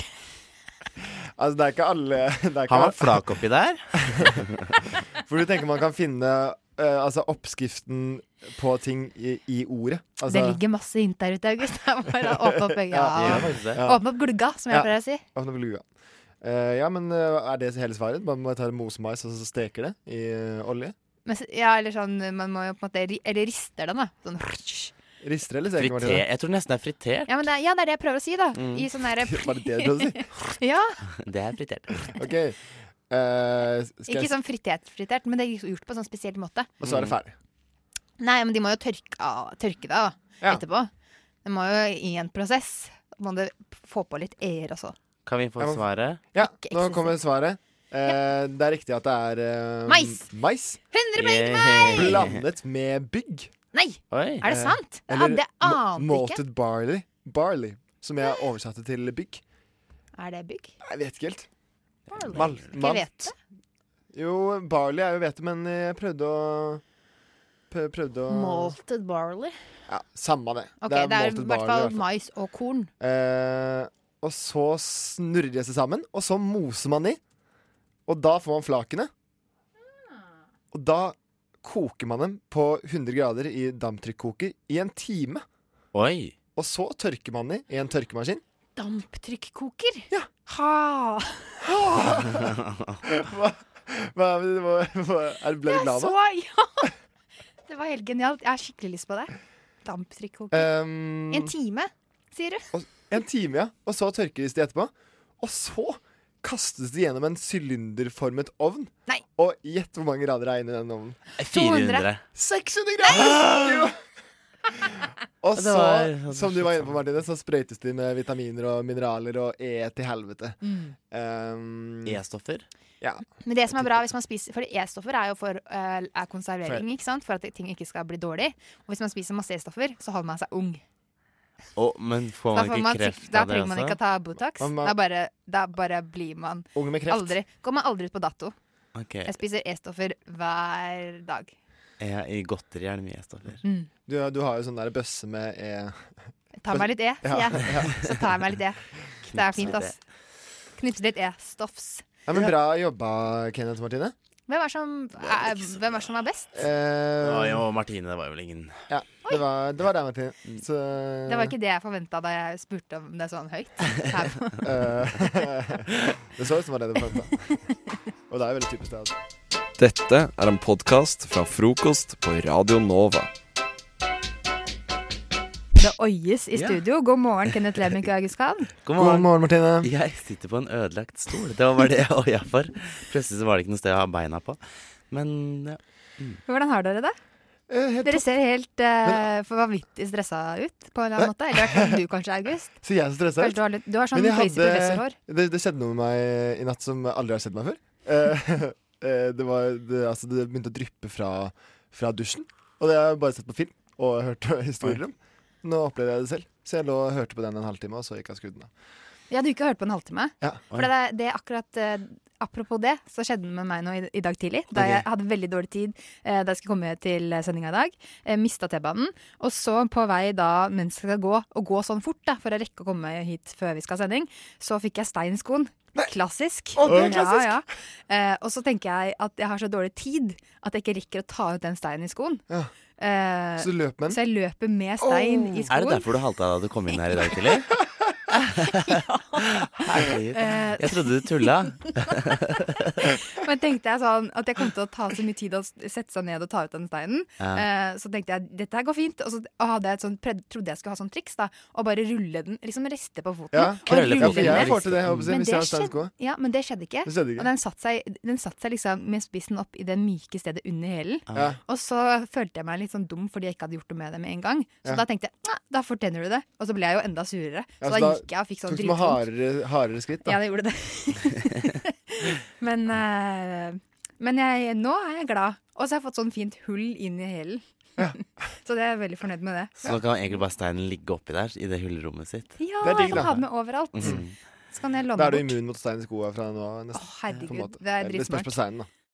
Altså, det er ikke alle det er ikke
Har man
alle-
flak oppi der?
For du tenker man kan finne eh, altså oppskriften på ting i, i ordet. Altså,
det ligger masse hint der ute, August. Det er bare å åpne opp øynene.
Ja, det gjør faktisk det.
Ja. Åpne opp glugga, som jeg
Ja.
pleier å si.
åpne opp lua. Eh, ja, men eh, er det hele svaret? Man må ta mosemais og så steker det i eh, olje?
Men, s- ja, eller sånn, man må jo på en måte ri- Eller rister den, da. Sånn
Rister eller steker man
Friter. Jeg tror nesten det er fritert.
Ja, men det, er- ja, det er det jeg prøver å si, da.
Mm.
I sånn derre
Var det det du prøvde
ja.
Det er fritert.
OK. eh, skal
Ikke
jeg-
sånn fritert-fritert, men det er gjort på en sånn spesiell måte.
Og så er det
Mm.
ferdig.
Nei, men de må jo tørke, av- tørke det da, etterpå. Det må jo i en prosess. Må du få på litt eier også.
Kan vi få
Jeg må-
svaret?
Ja, nå kommer svaret. Eh, Det er riktig at det er eh,
Mais.
mais.
100
poeng til meg!
Blandet med bygg.
Nei!
Oi.
Er det
Eh,
sant? Ja,
eller
det
ma-
ante jeg ikke.
Malted barley, barley, som jeg oversatte til bygg.
Er det bygg?
Jeg vet ikke helt.
Barley?
Mal-
Ikke
malt.
hvete?
Jo, barley er jo hvete, men jeg prøvde å prø- Prøvde å
Malted barley.
Ja, samme det.
Ok, det er i
malted
hvert
barley, i
fall
hvert fall.
mais og korn.
Eh, og så snurrer de seg sammen, og så moser man de. Og da får man flakene.
Ah.
Og da koker man dem på 100 grader i damptrykkoker i en time.
Oi.
Og så tørker man de i en tørkemaskin.
Damptrykkoker? Ja. Ha!
Hva, hva, hva, hva, er, ble du glad
Så,
nå?
ja! Det var helt genialt. Jeg har skikkelig lyst på det. Damptrykkoker.
Ehm,
En time, sier du?
en time, ja. Og så tørkes de etterpå. Og så kastes de gjennom en sylinderformet ovn.
Nei.
Og gjett hvor mange grader det er inni den ovnen.
400.
600
Ah!
grader! Jo. Og
Det
så,
var- sånn
som du var inne på, Martine, så sprøytes de med vitaminer og mineraler og E til helvete.
Mm.
Ehm,
E-stoffer?
Ja.
Men det som er bra hvis man spiser For E-stoffer er jo for, eh, er konservering,
For-
ikke sant? For at ting ikke skal bli dårlig. Og hvis man spiser masse E-stoffer, så holder man seg ung.
Å, men får
Da,
man
får
ikke
man, sikk-
kreft
da
av det
trenger man ikke å
også?
ta Botox.
Man- man-
Da bare, da bare blir man
Ung med kreft.
Aldri, går man aldri ut på dato.
Ok.
Jeg spiser E-stoffer hver dag.
Ja, I godteri er det mye E-stoffer.
Mm.
Du, du har jo sånn der bøsse med E.
Jeg tar meg litt E, sier
Ja,
jeg.
ja.
Så tar jeg meg litt E. Det er fint,
litt
ass. Knipse litt E-stoffs.
Ja, men Bra jobba, Kenneth og Martine.
Hvem er som, er, hvem er som er best?
Det var
Eh,
jo Martine, det var jo vel ingen
ja, det var, det var deg, Martine. Så,
Det var ikke det jeg forventa da jeg spurte om det sånn høyt. Her på.
Eh, det så ut som det var det du forventet. Og det er jo veldig typisk det. Altså.
Dette er en podkast fra frokost på Radio Nova.
Det oies i
Ja.
studio. God morgen, Kenneth Lemik og August Kahn.
God morgen.
Martine.
Jeg sitter på en ødelagt stol. Det var bare det jeg oia for. Plutselig så var det ikke noe sted å ha beina på. Men ja.
Hvordan har dere det? Dere ser helt eh, for vanvittig stressa ut på en eller annen måte. Eller kan du kanskje, August?
Så jeg er så stressa
Kanskje du har litt- du har sånn
Men jeg
crazy professorhår.
Det, det skjedde noe med meg i natt som aldri har skjedd meg før. Eh, eh, det, var, det, altså, det begynte å dryppe fra, fra dusjen. Og det har jeg bare sett på film og hørt historier om. Nå opplevde jeg det selv. Så jeg lå og hørte på den en halvtime, og så gikk jeg skrudden av.
Vi hadde jo ikke hørt på en halvtime.
Ja.
For det, det er akkurat eh, Apropos det, så skjedde det med meg nå i, i dag tidlig. Da
Ok.
jeg hadde veldig dårlig tid eh, da jeg skulle komme til sendinga i dag. Eh, Mista T-banen. Og så på vei da mens jeg skal gå, og gå sånn fort da, for å rekke å komme hit før vi skal ha sending, så fikk jeg stein i skoen. Klassisk.
Å, det er
Ja,
klassisk.
ja. Eh, og så tenker jeg at jeg har så dårlig tid at jeg ikke rekker å ta ut den steinen i skoen. Eh,
Så du løp med den?
Så jeg løper med stein i
Er
skoen.
det derfor du halta da du kom inn her i dag tidlig? Herregud.
Eh.
Jeg trodde du tulla.
Men tenkte jeg sånn at jeg kom til å ta så mye tid å s- sette seg ned og ta ut den steinen.
Ja.
Eh, så tenkte jeg dette her går fint, og så og hadde jeg et sånt, pred- trodde jeg skulle ha sånn triks. da Og bare rulle den, liksom riste på foten.
Ja,
og
krølle
rulle
foten. Ja, for jeg
den.
får til det, jeg håper å si,
Men
hvis jeg har
skjedde-
steinsko.
ja, men det skjedde ikke.
Det skjedde ikke.
Og den satte seg, den satt seg liksom med spissen opp i det myke stedet under hælen.
Ja.
Og så følte jeg meg litt sånn dum fordi jeg ikke hadde gjort det med det med en gang. Så
Ja.
da tenkte jeg "Nei, da fortjener du det. Og så ble jeg jo enda surere. Så
Ja,
da, gikk jeg og fikk sånn
Tok med
dritvondt.
hardere, hardere skritt, da.
Ja, det gjorde det. men eh, men jeg, nå er jeg glad. Og så har jeg fått sånn fint hull inn i hælen. så det er jeg veldig fornøyd med det.
Så nå kan egentlig bare steinen ligge oppi der, i det hullrommet sitt.
Ja, jeg kan ha den med overalt.
Mhm.
Så kan jeg låne
Da er du
bort.
immun mot stein i skoa fra nå av. nesten,
herregud,
på en måte.
det er
Det spørs
dritsmart.
på steinen, da.